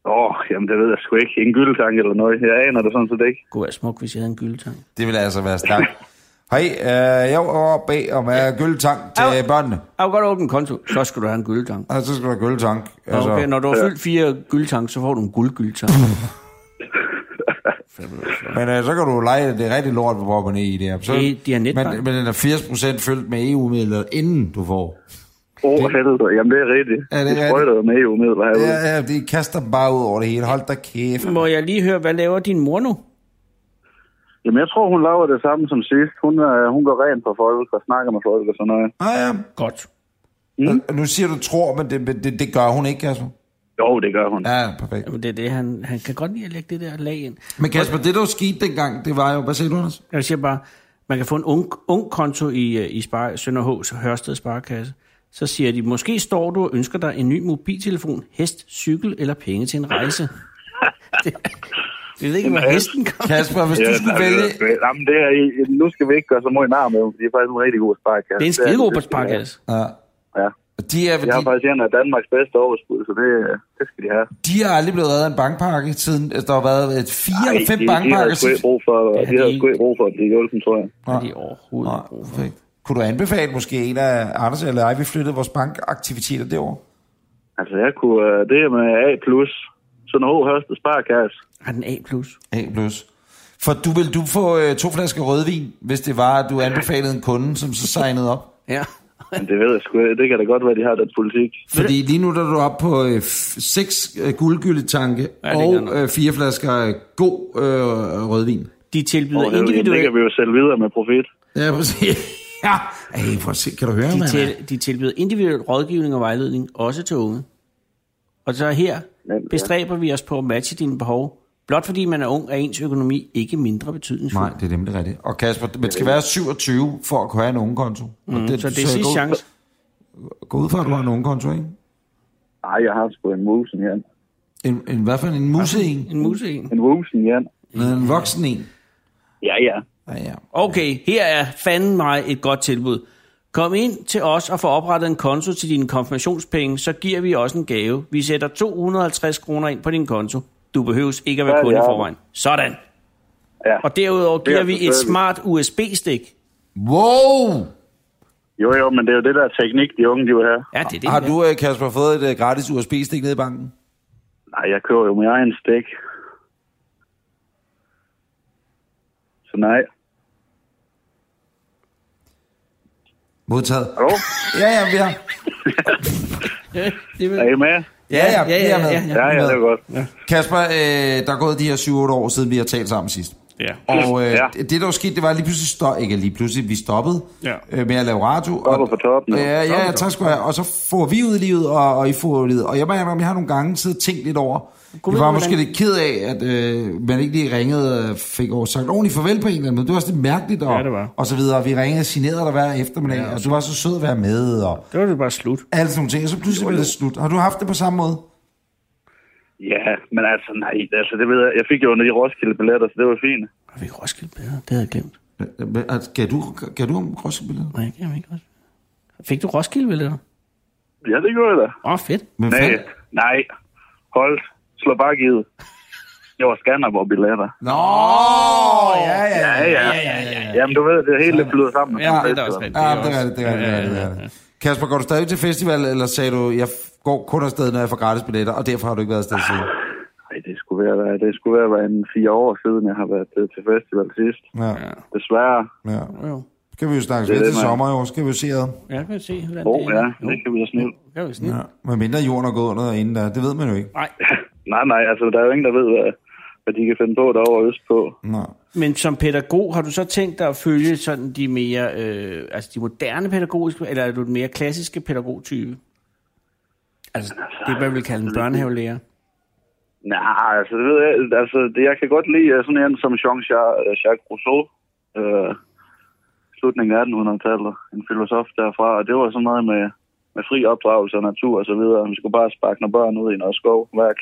Åh, oh, jamen det ved jeg sgu ikke. En gyldtank eller noget. Jeg aner det sådan set ikke. Det kunne være smukt, hvis jeg havde en gyldtang. Det vil altså være stærkt. Hej, øh, jeg var oppe bag om uh, gyldetank til Au. børnene. Jeg vil godt åbne en konto, så skal du have en gyldtang. Og så skal der gyldetank. Altså, Okay, når du har Ja. fyldt fire gyldtang, så får du en guldgyldtang. Men øh, så kan du lege det rigtig lort, hvor man er i det her. Så, Det- de har netbank. men, men den er 80% fyldt med EU-midler, inden du får. Åh, oh, helvede. Jamen det er rigtigt. Ja, det er de sprøjter jo med EU-midler herude. Ja, ja, de kaster dem bare ud over det hele. Hold da kæft. Må jeg lige høre, hvad laver din mor nu? Jamen, jeg tror, hun laver det samme som sidst. Hun, øh, hun går rent på folk og snakker med folk og sådan noget. Ah, ja. Godt. Mm. Nu siger du tror, men det, men det, det gør hun ikke, Kasper. Jo, det gør hun. Ja. Ja, perfekt. Jamen, det er det, han, han kan godt lide at lægge det der lag ind. Men Kasper, det der jo skete dengang, det var jo... Hvad sagde du, Anders? Jeg siger bare, man kan få en ung, ung konto i, øh, i Spar, Sønderhås Hørsted Sparekasse. Så siger de, måske står du og ønsker dig en ny mobiltelefon, hest, cykel eller penge til en rejse. det, jeg ved ikke, hvor hesten kom. Kasper, hvis Ja, du skulle nej, vælge... det er- Jamen, det er, I- nu skal vi ikke gøre så meget nar med dem, for de er faktisk en rigtig god sparkasse. Det er en skidegod sparekasse. Ja. Ja. De er, Jeg har de, faktisk en af Danmarks bedste overskud, så det, øh, det skal de have. de er aldrig blevet reddet af en bankpakke siden... Altså, der har været et fire Ej, eller fem de, de bankpakker... altså havde sgu ikke brug for, Ja, det de er havde sgu ikke- ikke brug for at blive hjulpet, tror jeg. Det er de overhovedet Nej, ikke brug for. perfekt. Kunne du anbefale måske en af Anders eller jeg, vi flyttede vores bankaktiviteter derover? Altså, jeg kunne, øh, det med A+, sådan H. Hørste Sparkasse. Har den A+. plus? A plus. For du vil du få øh, to flasker rødvin, hvis det var, at du anbefalede en kunde, som så signede op. Ja. Men det ved jeg sgu. Det kan da godt være, de har den politik. Fordi lige nu der er du oppe på øh, f- seks øh, guldgyldetanke Ja, det ja, er godt nok. og øh, fire flasker øh, god øh, rødvin. De tilbyder Og det, det kan individuelle, vi jo sælge videre med profit. Ja, præcis. Ja. Ej, prøv at se. Kan du høre, de, mand? til, de tilbyder individuel rådgivning og vejledning, også til unge. Og så her Men, ja. bestræber vi os på at matche dine behov. Blot fordi man er ung, er ens økonomi ikke mindre betydningsfuld. Nej, det er nemlig rigtigt. Og Kasper, man skal være 27 for at kunne have en ungekonto. Mm, det, Så det er sidste gå- chance. Gå ud fra, at du har en ungekonto, ikke? Nej, jeg har sgu en musen, Jan. En, en, hvad for en, en musse en? En muse en. En musen, Jan. En, en voksen en? Ja, ja. Ja, ja. Okay, her er fanden mig et godt tilbud. Kom ind til os og få oprettet en konto til dine konfirmationspenge, så giver vi også en gave. Vi sætter 250 kroner ind på din konto. Du behøves ikke at være Ja, kunde i ja. forvejen. Sådan. ja. Og derudover giver er vi et selvfølgelig. smart USB-stik. Wow! Jo, jo, men det er jo det der teknik, de unge, de vil have. Ja, det er det. Har ja. du, øh, Kasper, fået et øh, gratis USB-stik nede i banken? Nej, jeg kører jo min egen stik. Så nej. Modtaget. Hallo? Ja, ja, vi har. Det vil... Er I med? Ja, ja, ja, vi er ja, med. ja, ja. Ja, ja, det er godt. Kasper, øh, der er gået de her 7-8 år siden, vi har talt sammen sidst. Ja. Og øh, Ja. ja. det, der var sket, det var lige pludselig stop, ikke lige pludselig, vi stoppede Ja. øh, med at lave radio. Stoppede på toppen, ja. Ja, ja, ja, tak skal du have. Og så får vi ud i livet, og, og I får ud i livet. Og jeg må indrømme, jeg har nogle gange siddet og tænkt lidt over, jeg Gud ved, var hvordan- måske lidt ked af, at øh, man ikke lige ringede og fik over sagt ordentligt farvel på en eller anden måde. Det var også lidt mærkeligt, og, Ja, det var. og så videre. Vi ringede og signerede dig hver eftermiddag, ja. og du var så sød at være med, og Det var det bare slut. alle sådan nogle ting. Og så pludselig blev det slut. Har du haft det på samme måde? Ja, men altså nej, altså det ved jeg. Jeg fik jo de Roskilde-billetter, så det var fint. Og vi kan også skille bedre. Det havde jeg glemt. Øh, men, altså, Gav du, gav du om Roskilde? Nej, jeg kan ikke også. Fik du Roskilde, vel? Åh, Ja, det gjorde jeg da. oh, fedt. Men Nej, fandme- nej. Hold. Slå bare givet. Det var Skanderborg-billetter. Nå, ja, ja, ja. Ja, ja. ja, ja, ja. Jamen, du ved, det hele det flyder sammen. Ja, det er da også rigtigt. Ja, det er rigtigt, det er rigtigt, det er rigtigt, det er rigtigt. Kasper, går du stadig til festival, eller sagde du, jeg f- går kun afsted, når jeg får gratis billetter, og derfor har du ikke været afsted siden? Nej, det skulle være, hvad- det skulle være, være en fire år siden, jeg har været øh, til festival sidst. Ja, Desværre. ja. Jo, jo. Så kan vi jo snakke Det er lidt det, til man. sommer i år, så kan vi jo se ad. Ja, kan vi se, hvordan Åh, oh, det ja, er. det kan vi da snilt. Jo, jo, snit. Ja. Med mindre jorden er gået under inden der, det ved man jo ikke. Nej, Nej, nej, altså, der er jo ingen, der ved, hvad, hvad de kan finde på derovre øst på. Nej. men som pædagog, har du så tænkt dig at følge sådan de mere, øh, altså de moderne pædagogiske, eller er du den mere klassiske pædagogtype? Altså, det er, hvad vi vil kalde en børnehavelærer. Nej, altså, det ved jeg, altså, det, jeg kan godt lide øh, sådan en som Jean-Jacques øh, Jacques Rousseau. Øh, slutningen af 1800-tallet. En filosof derfra, og det var sådan noget med, med fri opdragelse og natur og så videre. Vi skulle bare sparke nogle børn ud i noget skovværk.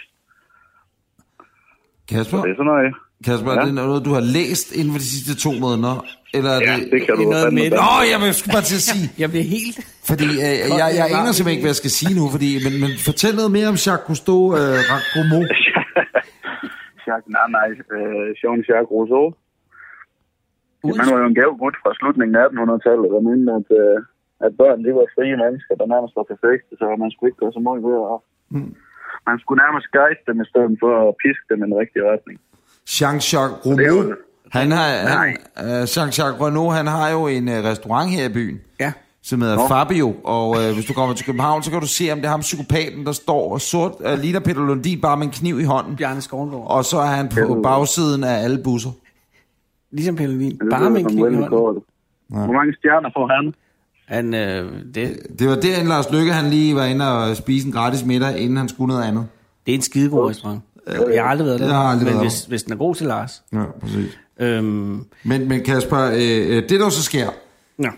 Kasper, Det er sådan noget. Kasper ja. er det noget, du har læst inden for de sidste to måneder? Eller er Ja, det... det kan det du er jo noget fandme med- da. Nå, jeg vil sgu bare til at sige, Jeg bliver helt... fordi øh, jeg, jeg, jeg aner simpelthen ikke, hvad jeg skal sige nu, fordi, men, men fortæl noget mere om Jacques Cousteau, øh, Racomo. Jacques, nej, nej, øh, Jean-Jacques Rousseau. Ud. Han var jo en gavebud fra slutningen af 1800-tallet, der mente, at, øh, at børn de var frie mennesker, der nærmest var perfekte, så man skulle ikke gøre så meget ved at... Mm. Man skulle nærmest guide dem i stedet for at piske dem i den rigtige retning. Jean-Jacques Det er Renault, jo- han har, han, Nej. øh, Jean-Jacques Renault, han har jo en øh, restaurant her i byen, Ja. som hedder Nå. Fabio, og øh, hvis du kommer til København, så kan du se, om det er ham psykopaten, der står og sort, øh, ligner Peter Lundin, bare med en kniv i hånden, Bjarne Skovngaard. og så er han på bagsiden af alle busser. Ligesom Pelle Vin. Det Bare lyder med en som kniv i Willy hånden. Cordell. Hvor mange stjerner får han? Han, øh, det, Det var derinde, Lars Lykke, han lige var inde og spise en gratis middag, inden han skulle noget andet. det er en skidegod restaurant. Jeg har aldrig været der, Jeg har aldrig men været hvis, hvis den er god til Lars. Ja, præcis. Øhm, Men, men Kasper, øh, øh, det der jo så sker, ja.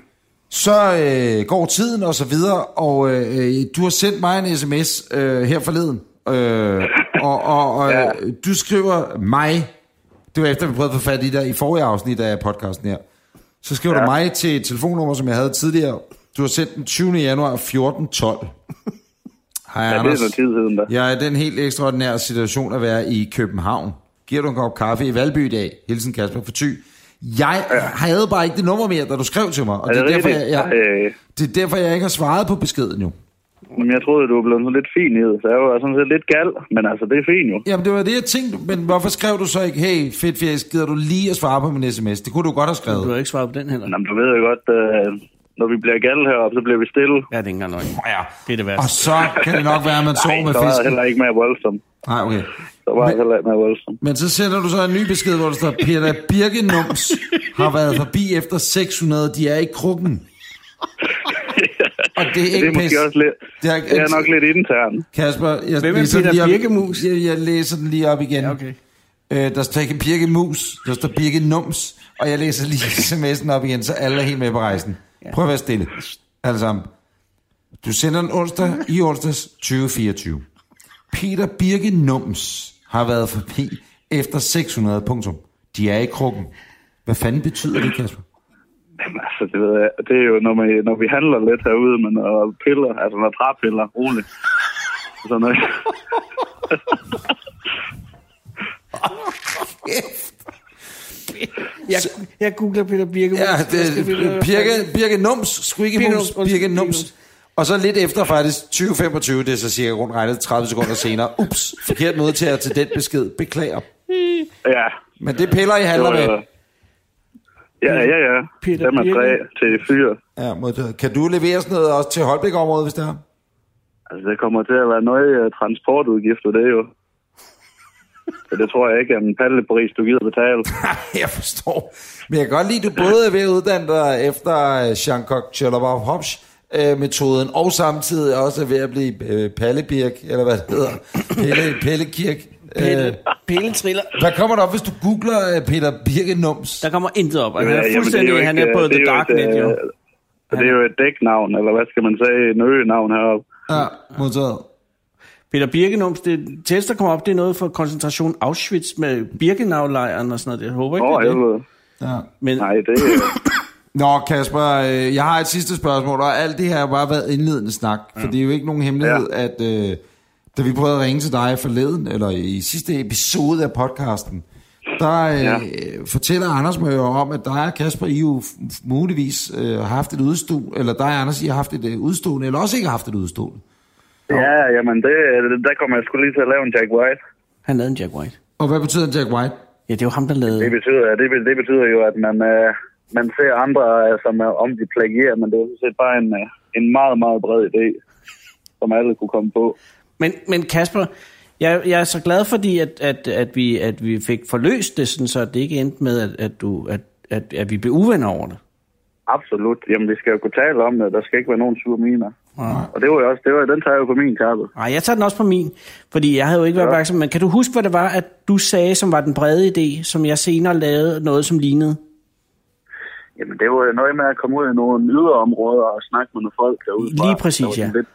Så øh, går tiden og så videre, og øh, øh, du har sendt mig en sms øh, her forleden, øh, og, og, og ja. du skriver mig, det var efter vi prøvede at få fat i dig i forrige afsnit af podcasten her, så skriver ja. du mig til et telefonnummer, som jeg havde tidligere, du har sendt den 20. januar 14.12. Hej Ja, det er Anders, noget tid siden da. jeg er i den helt ekstraordinære situation at være i København. Giver du en kop kaffe i Valby i dag? Hilsen Kasper for ty. Jeg havde bare ikke det nummer mere, da du skrev til mig, og Er det det er derfor, rigtigt? øh. jeg, jeg, Ej, det er derfor, jeg ikke har svaret på beskeden jo. men jeg troede, du var blevet sådan lidt fin i det, så jeg var sådan set lidt gal, men altså, det er fint jo. Jamen, det var det, jeg tænkte, men hvorfor skrev du så ikke, hey, fedt fjæs, gider du lige at svare på min sms? Det kunne du godt have Du skrevet. har ikke svaret på den heller. Jamen, du ved jo godt, øh, når vi bliver galde heroppe, så bliver vi stille. Ja, det er ikke engang løgn. Ja. Det er det værste. Og så kan det nok være, at man sover Nej, med der var jeg fisken. heller ikke mere voldsom. Nej, okay. Der var jeg Men- heller ikke mere voldsom. Men så sender du så en ny besked, hvor der står, Peter Birkenums har været forbi efter 600, de er i krukken. Og det er Det ikke er måske pis. også lidt... Det er, Det er nok lidt internt. Kasper, jeg, Hvem er læser den Peter lige op, Birkemus? Jeg, jeg læser den lige op igen. Ja, okay. Øh, der står ikke Birkemus, der står Birkenums, og jeg læser lige sms'en op igen, så alle er helt med på rejsen. Prøv at være stille, alle sammen. Du sender den onsdag i onsdags 2024. Peter Birkenums har været forbi efter 600 punktum. De er i krukken. Hvad fanden betyder det, Kasper? Jamen, altså, det, ved jeg. det er jo, når, man, når vi handler lidt herude, men og piller, altså når træpiller, roligt. Sådan noget. Jeg, jeg googler Peter Birke. Ja, det, Birke, Birke Nums, Squeaky Birke Moose, Nums, Birke undskyld, Nums. Og så lidt efter faktisk 2025, det er så cirka rundt regnet 30 sekunder senere. Ups, forkert modtager til den besked. Beklager. Ja, Men det piller I handler det med. var- Ja, ja, ja. Peter Dem er tre Birke. til fyre. Ja, modtaget. Kan du levere sådan noget også til Holbæk-området, hvis det er? Altså, det kommer til at være nøje øh, transportudgifter, det er jo. Så det tror jeg ikke er en pallepris, du gider betale. jeg forstår. Men jeg kan godt lide, at du både er ved at uddanne dig efter Shankok Chalabov Hobbs øh, metoden, og samtidig også er ved at blive øh, Pallebirk, eller hvad det hedder, Pelle, Pellekirk. Øh, Pille, Pille triller. hvad kommer der op, hvis du googler øh, Peter Birkenums? Der kommer intet op. Han er Ja, jamen, det er jo fuldstændig, ikke, han er på øh, det The jo Dark et, Net, jo. øh, Det er jo et dæknavn, eller hvad skal man sige, en øgenavn heroppe. Ja, modtaget. Peter Birkenums, det test, der kommer op, det er noget for koncentration Auschwitz med Birkenau-lejren og sådan noget. Jeg håber ikke, Åh, det er det. helvede. Ja. Men Nej, det er... Nå, Kasper, øh, jeg har et sidste spørgsmål, og alt det her har bare været indledende snak, for det er jo ikke nogen hemmelighed, ja. at øh, da vi prøvede at ringe til dig forleden, eller i sidste episode af podcasten, der øh, ja. Ja. fortæller Anders mig jo om, at dig og Kasper, I jo f- muligvis øh, har haft et udstående, eller dig og Anders, I har haft et øh, udstående, eller også ikke har haft et udstående. Ja, jamen, det, der kommer jeg sgu lige til at lave en Jack White. han lavede en Jack White. Og hvad betyder en Jack White? Ja, det var ham, der Det lavede... betyder, det, be- det betyder jo, at man, øh, man ser andre, øh, som er om de plagierer, men det er jo sådan set bare en, øh, en meget, meget bred idé, som alle kunne komme på. Men, men Kasper, jeg, jeg er så glad fordi, at, at, at, vi, at vi fik forløst det, sådan, så det ikke endte med, at, at, du, at, at, at vi blev uvenner over det. Absolut. Jamen, vi skal jo kunne tale om det. Der skal ikke være nogen sure miner. Nej. Og det var jo også, det var, den tager jeg jo på min kappe. Nej, jeg tager den også på min, fordi jeg havde jo ikke været Ja. opmærksom. Men kan du huske, hvad det var, at du sagde, som var den brede idé, som jeg senere lavede noget, som lignede? Jamen, det var jo noget med at komme ud i nogle yderområder og snakke med nogle folk derude. fra. Lige præcis, Der var sådan ja. Lidt,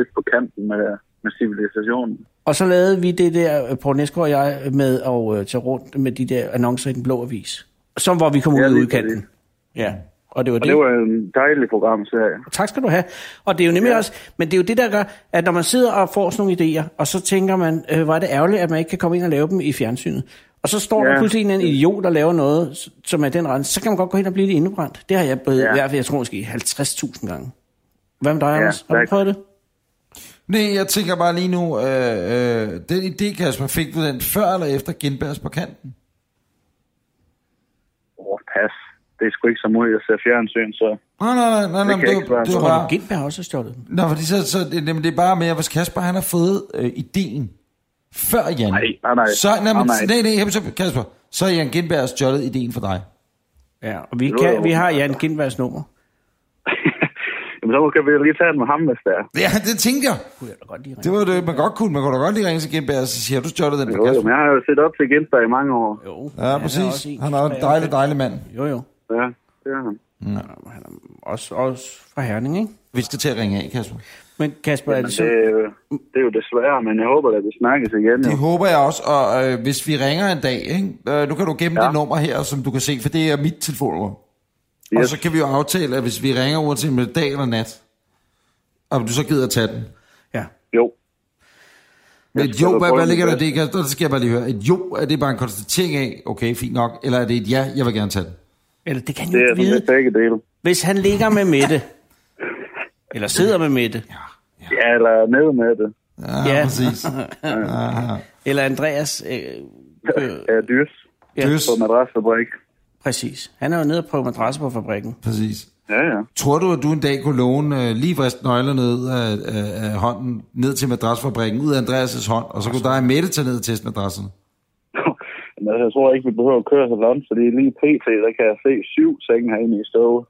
lidt på kanten med, med civilisationen. Og så lavede vi det der, øh, Poul Nesgaard og jeg, øh, med at øh, tage rundt med de der annoncer i den blå avis. Som hvor vi kom Ja, ud i lige udkanten. præcis. Ja, og det var Og det. det var jo en dejlig programserie. Tak skal du have. Og det er jo nemlig ja. også, men det er jo det, der gør, at når man sidder og får sådan nogle idéer, og så tænker man, øh, hvor er det ærgerligt, at man ikke kan komme ind og lave dem i fjernsynet. Og så står ja. der Ja. pludselig en eller anden idiot der laver noget, s- som er den rent. Så kan man godt gå hen og blive lidt indebrændt. Det har jeg blevet, ja. Ja. i hvert fald, jeg tror måske 50.000 gange. Hvad med dig, ja, Anders? Har du tak. prøvet det? Nej, jeg tænker bare lige nu, øh, øh, den idé, Kasper, fik du den før eller efter Genbergs på kanten? Åh, pas. Det er sgu ikke så meget, jeg ser fjernsyn, så... Nej, nej, nej, nej, nej, kan men jeg det, ikke var- svare det på. var Tror bare... du, Gindberg har også stjålet den? Nå, fordi så, så det, jamen, det er bare med, at hvis Kasper han har fået øh, ideen før Jan. Nej, nej, nej. Så, nej, men, Nej, nej. nej, nej, jamen, så, Kasper, så har Jan Gindberg stjålet ideen for dig. Ja, og vi, lyder kan, vi åbenbart. har Jan Gindbergs nummer. Jamen, så kan vi jo lige tage den med ham, hvis det er. Ja, det tænkte jeg. Kunne jeg da godt lige ringe. Det var det, man godt kunne. Man kunne da godt lige ringe til Gindberg og så sige, har du stjålet den Jo, for jo, men Kasper? jeg har jo set op til Gensberg i mange år. Jo, Ja, Han er, også præcis. en, Han er en dejlig, dejlig mand. Jo, jo. Ja, det er han. Han er- Han er også, også fra Herning, ikke? Vi skal til at ringe af, Kasper. Men Kasper, er Men det det, så... er jo- det er jo desværre, men jeg håber, at vi snakkes igen. Jo. Det håber jeg også, og øh, hvis vi ringer en dag, ikke? Øh, nu kan du gemme ja. Ja. det nummer her, som du kan se, for det er mit telefonnummer. Yes. Og Yes. så kan vi jo aftale, at hvis vi ringer uanset om det er dag eller nat, om du så gider at tage den. Ja. Jo. Men Jeg et skal jo, da hvad, prøve hvad ligger der i mit det? Kasper? Der skal jeg bare lige høre. Et jo, er det bare en konstatering af, okay, fint nok, eller er det et ja, jeg vil gerne tage den? Eller det kan han Det jo er ikke sådan lidt vide, begge dele. hvis han ligger med Mette. Eller sidder med Mette. Ja, eller ned med det. Ja, ja. Ja. præcis. Ja. Eller Andreas. Øh, øh, Ja, dyrs ja, Løs, på madrasfabrik. præcis. Han er jo nede og prøve madrasser på fabrikken. præcis. Ja, ja. Tror du, at du en dag kunne låne øh, lige vrist nøgler ned af, af, af hånden, ned til madrasfabrikken, ud af Andreas' hånd, og så kunne dig og Mette tage ned og teste madrassen? Men altså, jeg tror ikke, vi behøver at køre så langt, fordi lige pt, der kan jeg se syv senge herinde i stået.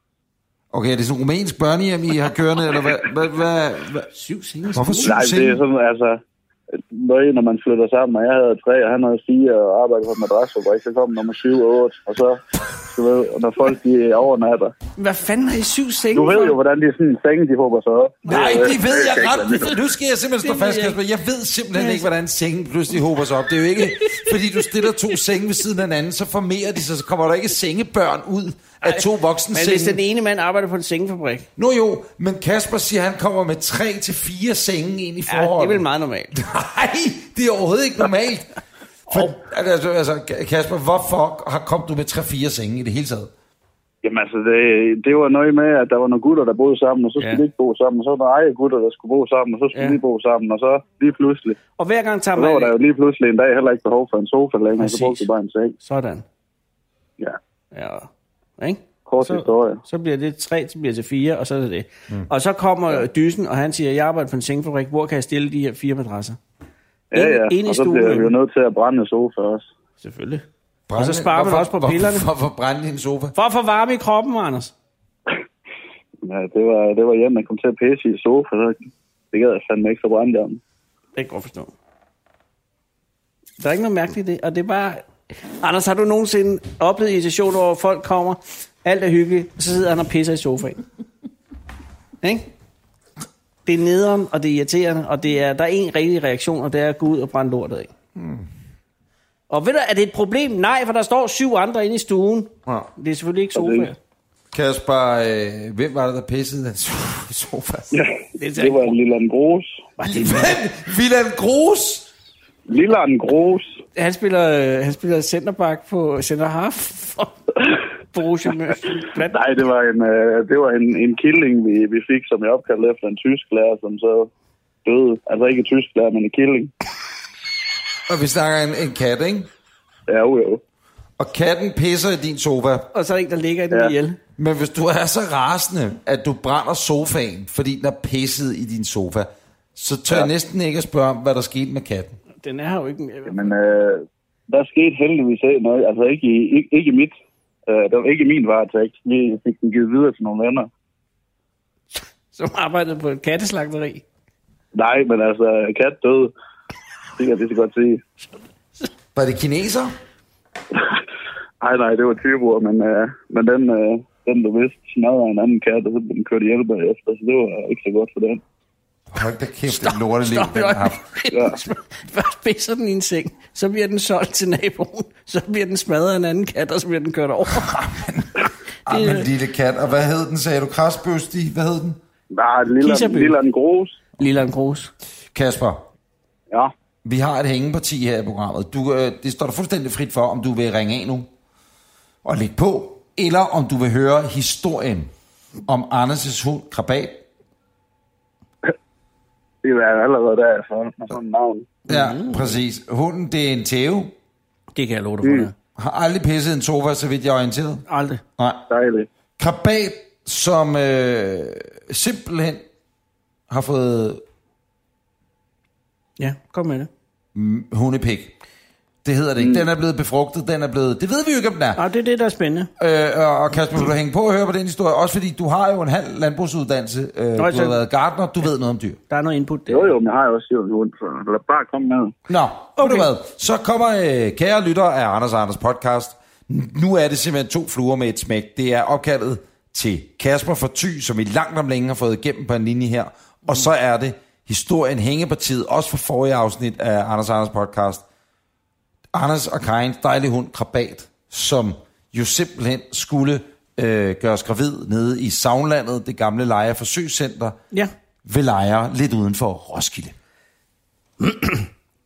Okay, er det sådan en rumænsk børnehjem, I har kørende, eller hvad? hvad, hvad, hvad? Syv senge. Hvorfor syv Nej, det er senge? sådan, altså... Når, når man flytter sammen, og jeg havde tre, og han havde fire, og arbejdede på en madrasfabrik, så kom nummer syv og otte, og så, du ved, og når folk de overnatter. Hvad fanden har I syv senge Du ved for? jo, hvordan de sådan senge, de håber sig op. Nej, er- det ved jeg kan ikke godt. være Det ved- Nu skal jeg simpelthen Det stå ved fast, jeg Kasper. Jeg ved simpelthen Ja. ikke, hvordan sengen pludselig håber sig op. Det er jo ikke, fordi du stiller to senge ved siden af hinanden, så formerer de sig, så kommer der ikke sengebørn ud af to voksne Men hvis den senge. ene mand arbejder på en sengefabrik, Nu jo, men Kasper siger, at han kommer med tre til fire senge ind i ja, det forholdet. er vel meget normalt. Nej, det er overhovedet ikke normalt. For, altså, altså, Kasper, hvorfor har kom du med 3-4 senge i det hele taget? Jamen altså, det, det var noget med, at der var nogle gutter, der boede sammen, og så skulle Ja. de ikke bo sammen, og så var der eje gutter, der skulle bo sammen, og så skulle Ja. ja. de bo sammen, og så lige pludselig. Og hver gang tager Og så var der jo man... lige pludselig en dag heller ikke behov for en sofa længere, så Præcis. brugte de bare en seng. Sådan. Ja, Ja. Ikke? kort Så- historie. Så bliver det tre, så bliver det fire, og så er det det. Mm. Og så kommer dysen, og han siger, jeg arbejder på en sengefabrik, hvor kan jeg stille de her fire madrasser? Ja, En- ja, en i og så bliver vi jo stuen. nødt til at brænde sofa også. Selvfølgelig. Brænde, så sparer man hvorfor- også på hvorfor- pillerne. Hvorfor brænde din sofa? For at få varme i kroppen, Anders. Ja, det var, det var hjem, der kom til at pisse i sofa, så det gad jeg fandme ikke så brændte jeg den. Det kan jeg godt forstå. Der er ikke noget mærkeligt i det, og det er bare... Anders, har du nogensinde oplevet irritation over, at folk kommer, alt er hyggeligt, og så sidder han og pisser i sofaen? Ikke? Det er nederen, og det er irriterende, og det er, der er en rigtig reaktion, og det er at gå ud og brænde lortet af. Mm. Og ved du, er det et problem? Nej, for der står syv andre inde i stuen. Ja. Det er selvfølgelig ikke Og det- sofaer. Kasper, øh, hvem var det, der pissede den so- sofa? Ja, Det er det var en lille Gros. Var det- Hvem? Vilhelm Grus? Lille Gros. Han spiller, øh, han spiller centerback på center half for Borussia Mönchengladbach. Nej, det var en, øh, det var en, en killing, vi, vi fik, som jeg opkaldte efter en tysk lærer, som så døde. Altså ikke en tysk lærer, men en killing. Og vi snakker en, en kat, ikke? Ja, jo, jo. Og katten pisser i din sofa. og så er der en, der ligger i den Ja. ja. ihjel. Men hvis du er så rasende, at du brænder sofaen, fordi den er pisset i din sofa, så tør ja. jeg næsten ikke at spørge om, hvad der skete med katten. Den er her jo ikke mere. Men øh, der skete heldigvis ikke noget. Altså ikke i, ikke, ikke i mit. Øh, det var ikke i min varetægt. Vi fik den givet videre til nogle venner. Som arbejdede på et katteslagteri. Nej, men altså, kat døde. Det kan jeg lige så godt sige. Var det kineser? Nej, nej, det var typer, men, øh, men den, øh, den, der vidste, smadrede en anden kat, og så blev den kørt ihjel bagefter, så det var ikke så godt for den. Hold da kæft, det lorteliv, Stop den det har haft. Ja. Først pisser den i en seng, så bliver den solgt til naboen, så bliver den smadret af en anden kat, og så bliver den kørt over. Ej, Det- Ah, men lille kat. Og hvad hed den, sagde du? Krasbøsti? Hvad hed den? Nej, lille, Kisserby. lille en grus. Lille Gros. Kasper, Ja, vi har et hængeparti her i programmet. Du, øh, det står dig fuldstændig frit for, om du vil ringe af nu og lægge på, eller om du vil høre historien om Anders' hund, Krabat. det var allerede der, så med sådan et navn. Ja, mm. præcis. Hunden, det er en tæve. Det kan jeg love dig for. Mm. Har aldrig pisset en sofa, så vidt jeg er orienteret. Aldrig. Nej. Dejligt. Krabat, som øh, simpelthen har fået Ja, kom med det. hundepik. Det hedder det ikke. Den er blevet befrugtet, den er blevet... Det ved vi jo ikke, om den er. Nå, Ah, det er det, der er spændende. Øh, og- og Kasper, vil du hænge på og høre på den historie? Også fordi du har jo en halv landbrugsuddannelse. Øh, du har så- været gartner, du ved noget om dyr. Der er noget input der. Jo, jo, men jeg har jo også syv hund, så lad bare komme med. Nå, okay. Okay. du hvad? Så kommer øh, kære lytter af Anders og Anders podcast. Nu er det simpelthen to fluer med et smæk. Det er opkaldet til Kasper for Ty, som vi langt om længe har fået igennem på en linje her. Og så er det historien Hængepartiet, også fra forrige afsnit af Anders og Anders podcast. Anders og Karins dejlige hund, Krabat, som jo simpelthen skulle øh, gøres gravid nede i Savnlandet, det gamle Lejer Forsøgscenter, Ja. ved Lejer, lidt uden for Roskilde.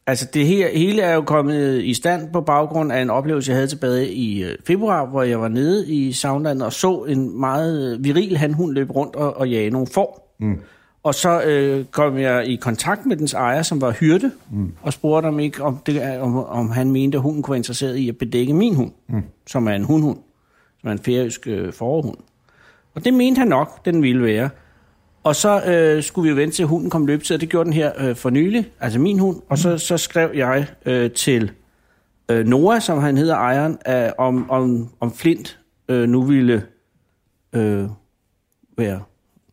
Altså, det her, hele er jo kommet i stand på baggrund af en oplevelse, jeg havde tilbage i øh, februar, hvor jeg var nede i Soundland og så en meget øh, viril handhund løbe rundt og, og jage nogle får. Mm. Og så øh, kom jeg i kontakt med dens ejer, som var hyrde, mm. og spurgte om ikke, om, det, er- om, om han mente, at hunden kunne være interesseret i at bedække min hund, mm. som er en hundhund, som er en færøsk øh, forhund. Og det mente han nok, den ville være. Og så øh, skulle vi jo vente til hunden kom løbet, og det gjorde den her øh, for nylig, altså min hund. Og så, så skrev jeg øh, til øh, Noah, som han hedder ejeren, af, om, om, om Flint øh, nu ville øh, være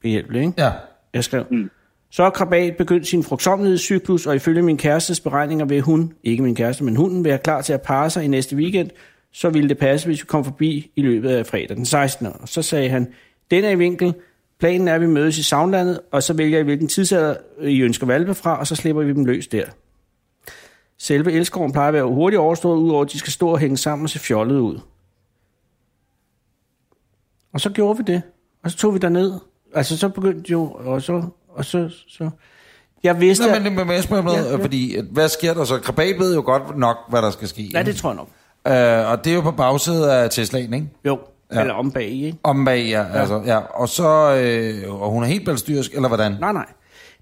behjælpelig. Ikke? Ja. Jeg skrev, mm. så er krabat begyndt sin frugtsomhedscyklus, og ifølge min kærestes beregninger vil hun, ikke min kæreste, men hunden, være klar til at parre sig i næste weekend, så ville det passe, hvis vi kom forbi i løbet af fredag den 16. Og så sagde han, den er i vinkel, planen er, at vi mødes i Soundlandet, og så vælger I, hvilken tidsalder I ønsker valpe fra, og så slipper vi dem løs der. Selve elskoven plejer at være hurtigt overstået, udover at de skal stå og hænge sammen og se fjollet ud. Og så gjorde vi det. Og så tog vi derned. Altså, så begyndte jo, og så, og så, så. Jeg vidste, Nå, Nej, men, men jeg spørger om noget, Ja, ja. fordi at hvad sker der så? Krabat ved jo godt nok, hvad der skal ske. ja, det tror jeg nok. Øh, og det er jo på bagsiden af Teslaen, ikke? Jo, Ja. ja. eller om bag, ikke? Om bag, ja. ja. Altså, ja. Og så, øh, og hun er helt balstyrsk, eller hvordan? Nej, nej.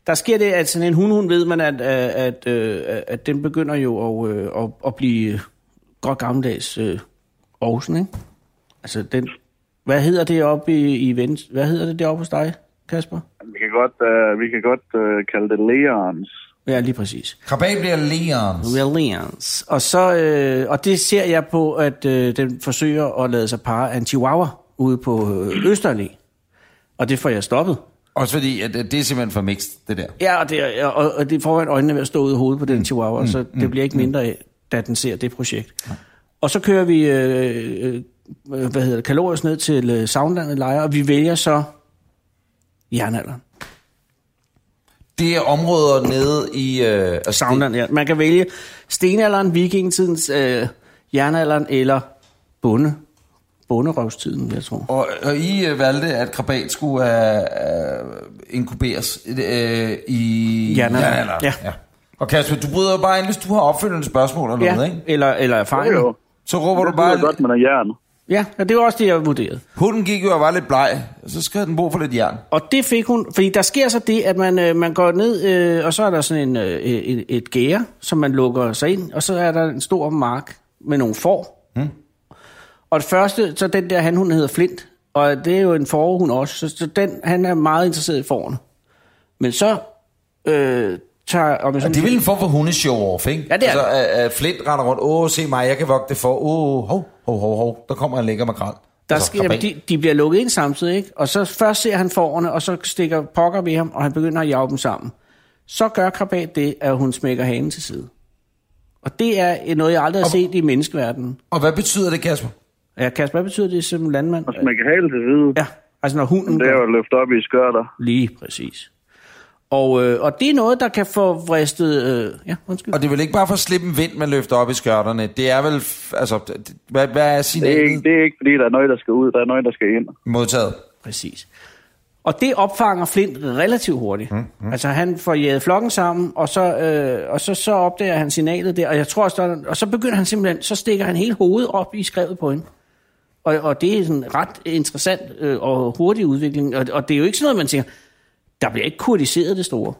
Der sker det, at sådan en hund, hun ved man, at, at, at, øh, at den begynder jo at, øh, at, at blive godt gammeldags øh, Aarhusen, ikke? Altså den... Hvad hedder det oppe i, i Vens? Hvad hedder det deroppe hos dig, Kasper? Vi kan godt, øh, vi kan godt øh, kalde det Leons. Ja, lige præcis. Krabat bliver Leons. Reliance. Og, så, øh, og det ser jeg på, at øh, den forsøger at lade sig parre af en chihuahua ude på øh, Østerlig. Og det får jeg stoppet. Også fordi, at, at det er simpelthen for mixed, det der. Ja, og det, er- og, og det foran øjnene er ved at stå ude i hovedet på den chihuahua, så det bliver ikke mindre af, da den ser det projekt. Og så kører vi, øh, øh, hvad hedder det, kalorisk ned til øh, Soundlandet Lejre, og vi vælger så jernalderen. Det er områder nede i... Øh, altså, Soundland, ja. Man kan vælge stenalderen, vikingetidens, øh, jernalderen eller bonde, bonderøvstiden, jeg tror. det- Og, og I øh, valgte, at krabat skulle øh, øh, inkuberes øh, i... Jernalderen. Ja. Ja. ja. Og Kasper, du bryder jo bare ind, hvis du har opfølgende spørgsmål eller noget, ikke? eller, eller erfaring. Jo, jo. Så råber du Det er bare... godt, man er jern. Ja, og det var også det, jeg vurderede. Hunden gik jo og var lidt bleg, og så skal den brug for lidt jern. Og det fik hun, fordi der sker så det, at man, øh, man går ned, øh, og så er der sådan en, øh, et, et gære, som man lukker sig ind, og så er der en stor mark med nogle får. Mm. Og det første, så den der han, hun hedder Flint, og det er jo en forhund også, så, så den, han er meget interesseret i fårene. Men så øh, tager... Om jeg Og sådan, det er vel en form for hundeshow-off, ikke? Ja, det er altså, at, at Flint render rundt, åh, se mig, jeg kan vogte det for, åh, hov, hov, hov, hov, der kommer en lækker makrel. Der Altså, sker, krabat. jamen, de, de bliver lukket ind samtidig, ikke? Og så først ser han forerne, og så stikker pokker ved ham, og han begynder at jage dem sammen. Så gør Krabat det, at hun smækker hanen til side. Og det er noget, jeg aldrig har set i menneskeverdenen. Og hvad betyder det, Kasper? Ja, Kasper, hvad betyder det som landmand? Og smække hale til side. Ja, altså når hunden Det er gør. jo at løfte op i skørter. Lige præcis. Og, øh, og det er noget, der kan få vristet... Øh, ja, undskyld. Og det er vel ikke bare for at slippe en vind, man løfter op i skørterne. Det er vel, f- altså, det- hvad, hvad er Det er, signalet ikke, det er ikke, fordi der er noget, der skal ud. Der er noget, der skal ind. modtaget? Præcis. Og det opfanger Flint relativt hurtigt. Mm, mm. Altså han får jaget flokken sammen, og så, øh, og så, så opdager han signalet der, og jeg tror, også, der, er- og så begynder han simpelthen, så stikker han hele hovedet op i skrevet på hende. Og, og det er sådan ret interessant øh, og hurtig udvikling, og, og det er jo ikke sådan noget, man tænker, der bliver ikke kurdiseret det store.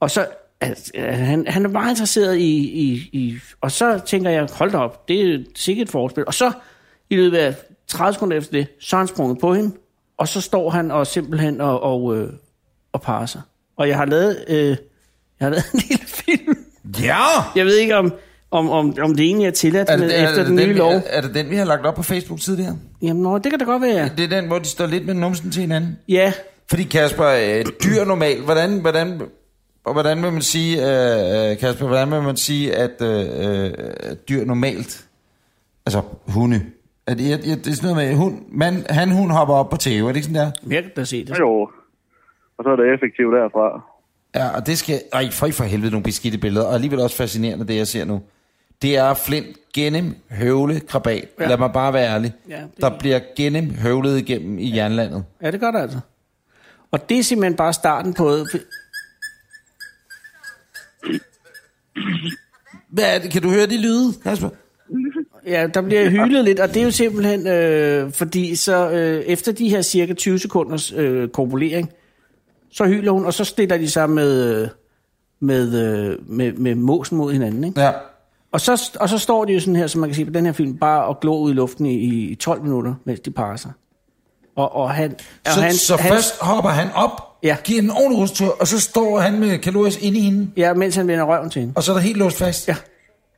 Og så, altså, øh, han, han er meget interesseret i, i, i, og så tænker jeg, hold da op, det er sikkert et forspil. Og så, i løbet af 30 sekunder efter det, så er han sprunget på hende, og så står han og simpelthen og, og, øh, og parer sig. Og jeg har lavet, øh, jeg har lavet en lille film. Ja! Jeg ved ikke, om, om, om, om det egentlig er tilladt Er men det, er, efter er, den det den, nye vi, lov. er, er det den, vi har lagt op på Facebook tidligere? Jamen, nå, det kan da godt være. Det er den, hvor de står lidt med numsen til hinanden. Ja, Fordi Kasper, øh, dyr normalt, hvordan, hvordan, og hvordan vil man sige, øh, øh, Kasper, hvordan vil man sige, at øh, øh, at dyr normalt, altså hunde, at, jeg, jeg, det er sådan noget med, hund, man, han, hun hopper op på tæve, er det ikke sådan der? jeg kan da se det. Jo. Og så er det effektivt derfra. Ja, og det skal... Ej, for, for helvede nogle beskidte billeder, og alligevel også fascinerende, det jeg ser nu. Det er flint gennem høvle krabat. Ja. Ja. Lad mig bare være ærlig. Ja, det der er- bliver gennem høvlet igennem i jernlandet. Ja, det gør det altså. Og det er simpelthen bare starten på... Hvad er det? Kan du høre de lyde, Kasper? Ja, der bliver hylet lidt, og det er jo simpelthen, øh, fordi så øh, efter de her cirka 20 sekunders øh, korpulering, så hyler hun, og så stiller de sig med, øh, med, øh, med, med måsen mod hinanden. Ikke? Ja. Og, så, og så står de jo sådan her, som man kan se på den her film, bare og glå ud i luften i, i 12 minutter, mens de parer sig. Og, og han, og Så, han, han, så han, først hopper han op, Ja. giver den en ordentlig rustur, og så står han med kalorier inde i hende, Ja, mens han vender røven til hende. og så er der helt låst fast. Ja.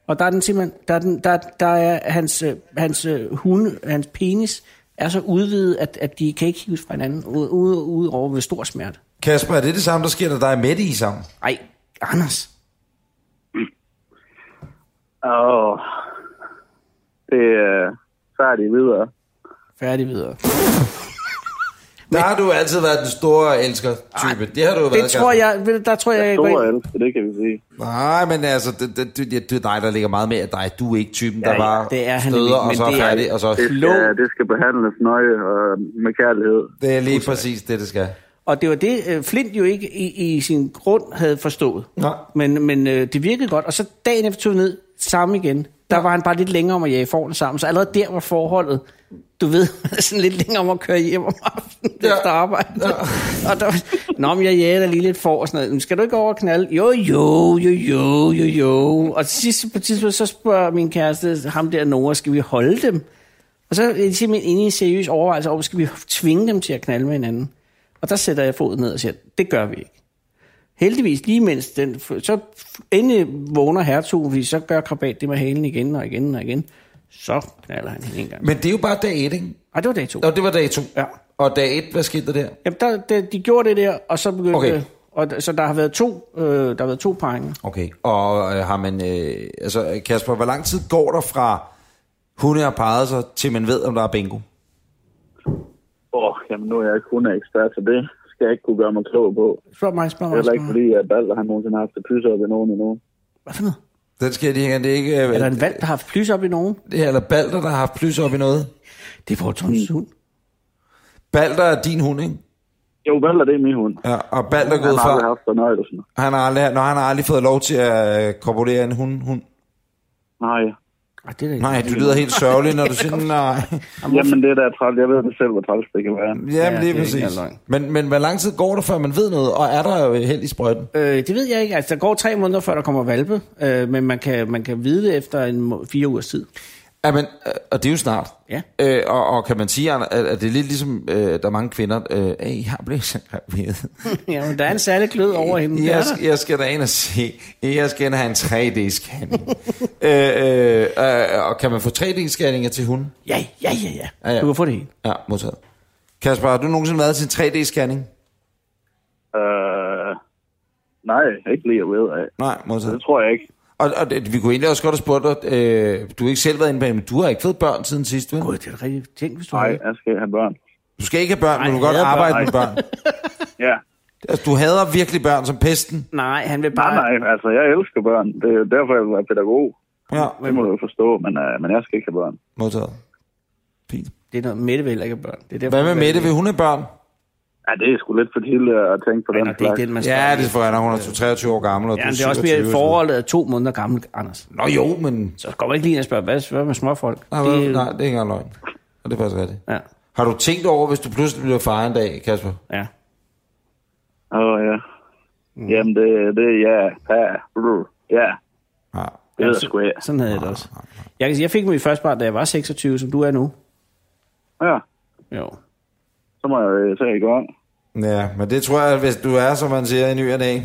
Og der er den simpelthen, der er, den, der, der er hans, øh, hans øh, hunde, hans penis, er så udvidet, at, at de kan ikke hives fra hinanden, ude, ude, ude over ved stor smerte. Kasper, er det det samme, der sker, da der er Mette i sammen? Ej, Anders. Og det er øh, så er de videre. Færdig videre. Der har du altid været den store elsker-type. Det har du jo været, Det tror jeg, ved du, der tror jeg, jeg går Store ind. elsker, det kan vi sige. Nej, men altså, det, det, det, det er dig, der ligger meget mere af dig. Du er ikke typen, der Ja, ja, bare det er han støder, ikke, og men så er det er- færdig, og så... Det skal, Klog. det skal behandles nøje og med kærlighed. Det er lige præcis det, det skal. Og det var det, øh, Flint jo ikke i, i sin grund havde forstået. Nej. Men, men øh, det virkede godt. Og så dagen efter tog vi ned, sammen igen. Der var han bare lidt længere om at jage forne sammen. Så allerede der var forholdet, du ved, sådan lidt længere om at køre hjem om aftenen ja. Ja. efter arbejde. Ja. og der, var- Nå, men jeg jager da lige lidt for og sådan noget. Men skal du ikke over og knalde? Jo, jo, jo, jo, jo, jo. Og til sidst, på et tidspunkt, så spørger min kæreste, ham der Nora, skal vi holde dem? Og så er de simpelthen inde i en seriøs overvejelse over, skal vi tvinge dem til at knalde med hinanden? Og der sætter jeg foden ned og siger, det gør vi ikke. Heldigvis, lige mens den... Så endelig vågner hertugen, fordi så gør krabat det med halen igen og igen og igen. Så knaller han hende en gang. Men det er jo bare dag 1, ikke? Ej, det var dag to. Nå, det var dag 2. Ja. Og dag 1, hvad skete der der? Jamen, der, de, de gjorde det der, og så begyndte... Okay. Og, d- så der har været to, øh, der har været to paringer. Okay, og øh, har man... Øh, altså, Kasper, hvor lang tid går der fra hunde har peget sig, til man ved, om der er bingo? Åh, oh, jamen nu er jeg ikke kun ekspert, så det skal jeg ikke kunne gøre mig klog på. Spørg mig, spørg mig, Det er heller spørg ikke mig. fordi, at Balder han nogensinde har haft et pyser op i nogen endnu. Hvad for noget? Den skal jeg lige hænge, det er ikke... Øh, Er der en valg, der har haft plys op i nogen? Det er, eller Balder, der har haft plus op i noget. Det er Paul Thomsens Hmm. hund. Balder er din hund, ikke? Jo, Balder, det er min hund. Ja, og Balder går Han ud har aldrig fra, haft fornøjelsen. han har aldrig, når han har aldrig fået lov til at øh, korporere en hund, hund. Nej. Ej, det er da ikke. Nej, du lyder helt sørgelig, når du siger nej. Jamen, det der er træls. Jeg ved det selv, hvor træls det kan være. Jamen, Ja, ja, lige det er ikke præcis. engang løgn. Men, men hvor lang tid går der, før man ved noget, og er der øh, held i sprøjten? Øh, det ved jeg ikke. Altså, der går tre måneder, før der kommer valpe, øh, men man kan, man kan vide det efter en, må- fire ugers tid. Ja, men, øh, og det er jo snart. Ja. Øh, og, og kan man sige, Arne, at, at det er lidt ligesom, øh, der er mange kvinder, øh, hey, jeg blev så gravid. ja, men der er en særlig glød over hende. Det er Jeg, der. jeg skal da ind og se. Jeg skal ind og have en 3D-scanning. øh, øh, øh, og kan man få 3D-scanninger til hunden? Ja, ja, ja, ja. Ja, ja. Du kan få det hele. Ja, modtaget. Kasper, har du nogensinde været til en 3D-scanning? Øh, nej, ikke lige at vide af. Nej, Det modtaget. tror jeg ikke. Og, og det- vi kunne egentlig også godt have spurgt dig, øh, du har ikke selv været inde bag, men du har ikke fået børn siden sidst, vel? Gud, det er da rigtigt. Tænk, hvis du Nej, havde. jeg skal have børn. Du skal ikke have børn, Nej, men du kan godt jeg hader arbejde med børn. Ja. Altså, du hader virkelig børn som pesten. Nej, han vil Nej, bare... nej, altså jeg elsker børn. Det er derfor, jeg vil være pædagog. Ja, Det må du jo forstå, men, øh, men jeg skal ikke have børn. modtaget. Fint. Det er noget, Mette vil heller ikke have børn. Det er derfor, Hvad med hun Mette? vil- Vil hun have børn? Ja, det er sgu lidt for tidligt at tænke på Ej, den nå, det er slags. ikke den, man skal. Ja, det er for Anna. Hun er 23 år gammel, og Ja, du men er det er også mere 27, et forhold, der er to måneder gammel, Anders. Nå jo, men... Så går man ikke lige ind og spørge, hvad, hvad med småfolk? Nej, det... nej, det er ikke engang løgn. Og det er faktisk rigtigt. Ja, Har du tænkt over, hvis du pludselig bliver far en dag, Kasper? ja. Åh, oh, ja. Mm. Jamen, det, det, ja, ja, brr, ja. Ja. Det ved jeg sgu ikke. Sådan havde jeg det også. Jeg kan sige, jeg fik min første barn, da jeg var 26, som du er nu. Ja, Jo. så må jeg øh, tage i gang. Ja, men det tror jeg, hvis du er, som man siger, i ny og dag.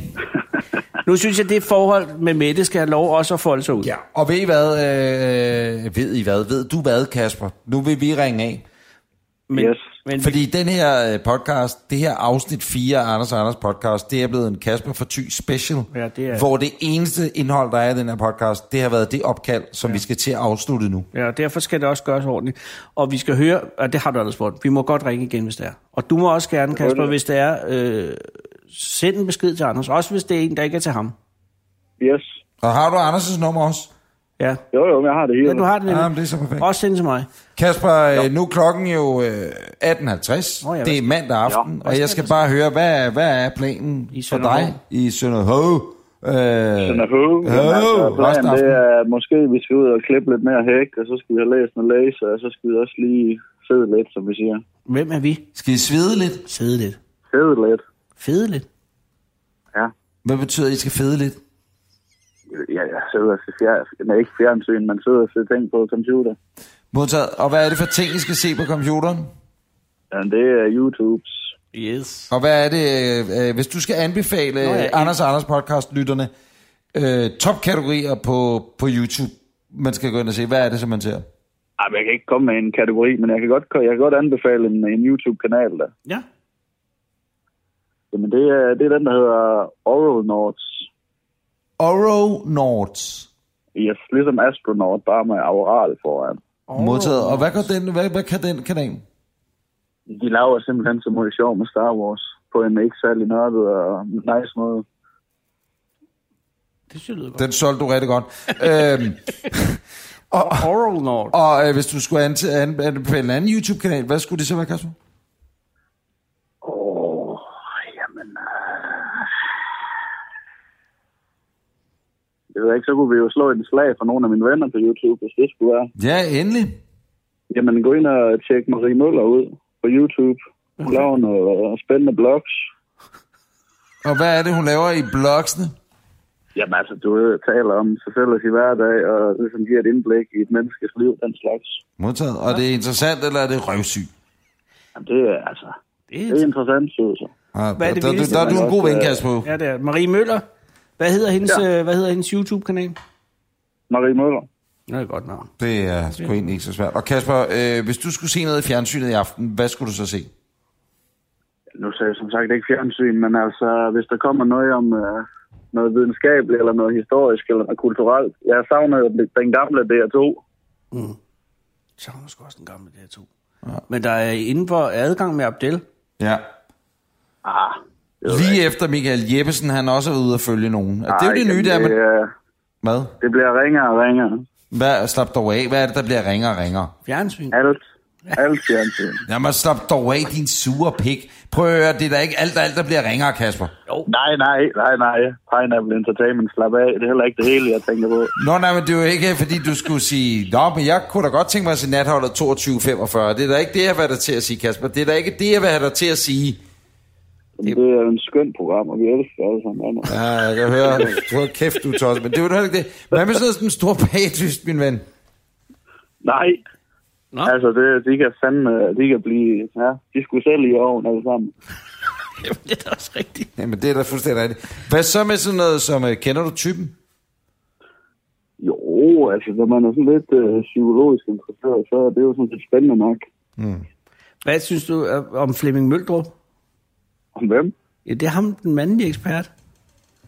Nu synes jeg, det forhold med Mette skal have lov også at folde sig ud. Ja, og ved I hvad, øh, ved I hvad, ved du hvad, Kasper? Nu vil vi ringe af. Men, Yes. men Fordi den her øh, podcast, det her afsnit 4 af Anders og Anders podcast, det er blevet en Kasper for Thy special. Ja, det er- Hvor det eneste indhold, der er i den her podcast, det har været det opkald, som ja. vi skal til at afslutte nu. Ja, og derfor skal det også gøres ordentligt. Og vi skal høre, og det har du allerede spurgt, vi må godt ringe igen, hvis det er. Og du må også gerne, Kasper, hvis det er, øh, send en besked til Anders. Også hvis det er en, der ikke er til ham. Yes. Og har du Anders' nummer også? Ja, Jo, jo, men jeg har det hele. ja du har den Ja, nemlig. men det er så perfekt. Også send til mig. Kasper, øh, nu er klokken jo øh, 18.50. Nå ja, hvad det er skal- mandag aften, hvad og jeg skal skal der bare høre, hvad, er- hvad er planen I for dig Sønderhov? i Sønderhøj? Øh, Den er høv. Høv, planen, resten af altså, det aftenen. er, at måske vi skal ud og klippe lidt mere hæk, og så skal vi have læst noget laser, og så skal vi også lige sidde lidt, som vi siger. Hvem er vi? Skal I svede lidt? Sidde lidt. Sidde lidt. Fede lidt. Ja. Hvad betyder, at I skal fede lidt? Ja, jeg sidder og ser fjern, nej, ikke fjernsyn, man sidder og ser ting på computer. Modtaget. Og hvad er det for ting, I skal se på computeren? Jamen, det er YouTubes. Yes. Og hvad er det, øh, hvis du skal anbefale Nå, Nå ja, ja, en- Anders og Anders podcast-lytterne øh, topkategorier på, på YouTube, man skal gå ind og se, hvad er det, som man ser? Ej, Ah, men jeg kan ikke komme med en kategori, men jeg kan godt, jeg kan godt anbefale en, en YouTube-kanal der. Ja. Jamen, det er, det er den, der hedder Oral Nords. Oro Nords Yes, ligesom astronaut, bare med aural foran. oh, modtaget. Og hvad, går den, hvad, hvad kan den kanal? De laver simpelthen så meget sjov med Star Wars på en ikke særlig nørdet og nice måde. Det synes jeg lyder godt. Den solgte du rigtig godt. øhm, Oral Nord. og øh, hvis du skulle an, an, anbefale en anden YouTube-kanal, hvad skulle det så være, Kasper? Åh, oh, jamen... øh. Jeg ved ikke, så kunne vi jo slå et slag for nogle af mine venner på YouTube, hvis det skulle være. Ja, endelig. Jamen, gå ind og tjek Marie Møller ud på YouTube. Hun laver noget øh, spændende blogs. Og hvad er det, hun laver i blogsene? Jamen altså, du ved, taler om sig selv og sin hverdag, og ligesom giver et indblik i et menneskes liv, den slags. Modtaget. Og det er interessant, eller er det røvsyg? Jamen, det er altså... Det Det er er interessant, synes jeg. Ah, Hvad er det der, der, vildeste, der, er man du en god også, ven, øh, Kasper. Ja, det er Marie Møller. Hvad hedder hendes, Ja. ja. hvad hedder hendes YouTube-kanal? Marie Møller. Nå, det er et godt navn. Det er sgu egentlig ikke så svært. Og Kasper, øh, hvis du skulle se noget i fjernsynet i aften, hvad skulle du så se? Nu ser jeg som sagt ikke fjernsyn, men altså, hvis der kommer noget om øh, noget videnskabeligt, eller noget historisk, eller noget kulturelt. Jeg savner jo den- den gamle DR2. Så hun sgu også den gamle der to. Ja. Men der er inden for adgang med Abdel. Ja. Ah, det ved jeg Lige efter Michael Jeppesen, han også er ude at følge nogen. Og det er jo Ej, det nye, jamen, der Det, med... øh, Hvad? det bliver ringere og ringere. Hvad? Slap dog af. Hvad er det, der bliver ringere og ringere? Fjernsyn. Alt. Alt fjernsyn. Jamen, slap dog af, din sure pik. Prøv at høre, det er da ikke alt, alt der bliver ringere, Kasper. Nej, nej, nej, nej. Pineapple Entertainment, slap af. Det er heller ikke det hele, jeg tænker på. Nå, nej, men det er jo ikke, fordi du skulle sige, Nå, men jeg kunne da godt tænke mig at se natholdet 22.45. Det er da ikke det, jeg vil have dig til at sige, Kasper. Det er da ikke det, jeg vil have dig til at sige. Men det er jo en skøn program, og vi elsker alle sammen. andre. Ja, jeg kan høre. Du har kæft, du er tosset, men det er jo heller ikke det. Hvad med sådan noget som en stor bagdyst, min ven? Nej. Nå. Altså, det, de kan fandme, de kan blive, ja, de skulle selv i oven alle sammen. Jamen, det er da også rigtigt. Jamen, det er da fuldstændig rigtigt. Hvad så med sådan noget som, øh, kender du typen? Jo, altså, når man er sådan lidt øh, psykologisk interesseret, så er det jo sådan lidt spændende nok. Hvad synes du øh, om Flemming Møldrup? Om hvem? Ja, det er ham, den mandlige ekspert.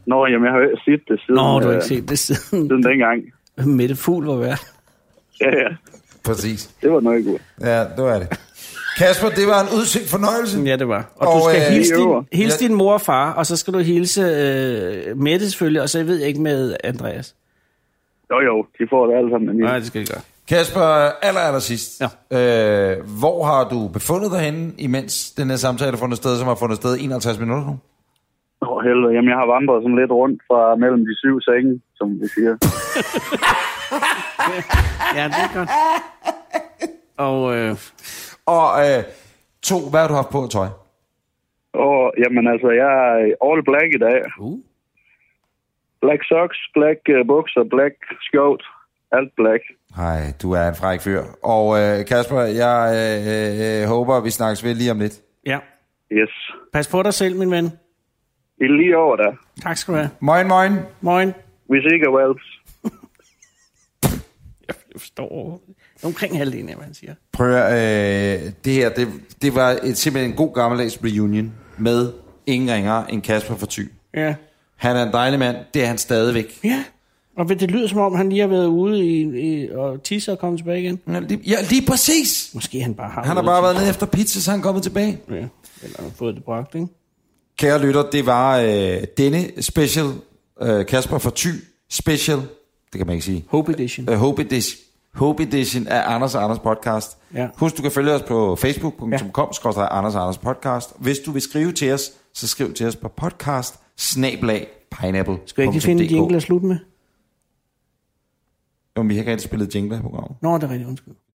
Nå, jamen, jeg har jo ikke set det siden, Nå, du har øh, ikke set det siden siden dengang. Mette Fugl var vært. Ja, ja, Præcis. det var noget godt. Ja, det var det. Kasper, det var en udsigt fornøjelse. Ja, det var. Og, og Og, du skal øh, øh, hilse, I øver. din, hilse Ja. din mor og far, og så skal du hilse øh, Mette selvfølgelig, og så ved jeg ikke med Andreas. Jo, jo, de får det alle sammen. men Nej, de- det skal jeg gøre. Kasper, aller, aller sidst. Ja. Øh, hvor har du befundet dig henne, imens den her samtale har fundet sted, som har fundet sted i 51 minutter nu? Åh, helvede, jamen, jeg har vandret sådan lidt rundt fra mellem de syv senge, som vi siger. Ja, det er godt. Og øh, Og øh, to, hvad har du haft på af tøj? Og, jamen, altså, jeg er all black i dag. uh, Black socks, black øh, bukser, black skjort, alt black. Nej, du er en fræk fyr. Og øh, Kasper, jeg øh, øh, håber, vi snakkes ved lige om lidt. ja. Yes. Pas på dig selv, min ven. I er lige over der. Tak skal du have. Moin, moin. Morgen. Hvis ikke er Wells. Jeg forstår overhovedet ikke. Omkring halvdelen af, hvad han siger. Prøv at, høre, øh, det her, det, det var et, simpelthen en god gammeldags reunion med ingen ringere end Kasper for Thy. Ja. Han er en dejlig mand, det er han stadigvæk. Ja. Og det lyder, som om han lige har været ude i, i og tisse og kommet tilbage igen. Ja, lige, ja, lige præcis. Måske han bare har Han har bare været nede efter pizza, så han er kommet tilbage. Ja. Eller han har fået det bragt, ikke? Kære lytter, det var øh, denne special, øh, Kasper for Thy special, det kan man ikke sige, Hope Edition. øh, Hope Edition. Hope Edition af Anders og Anders podcast. Ja. Husk, du kan følge os på facebook.com, ja. Anders og Anders podcast. Hvis du vil skrive til os, så skriv til os på podcast, snablag, pineapple. Skal jeg ikke lige finde en jingle at slutte med? Jo, men vi har ikke rigtig spillet jingle i programmet. Nå, det er rigtigt, undskyld.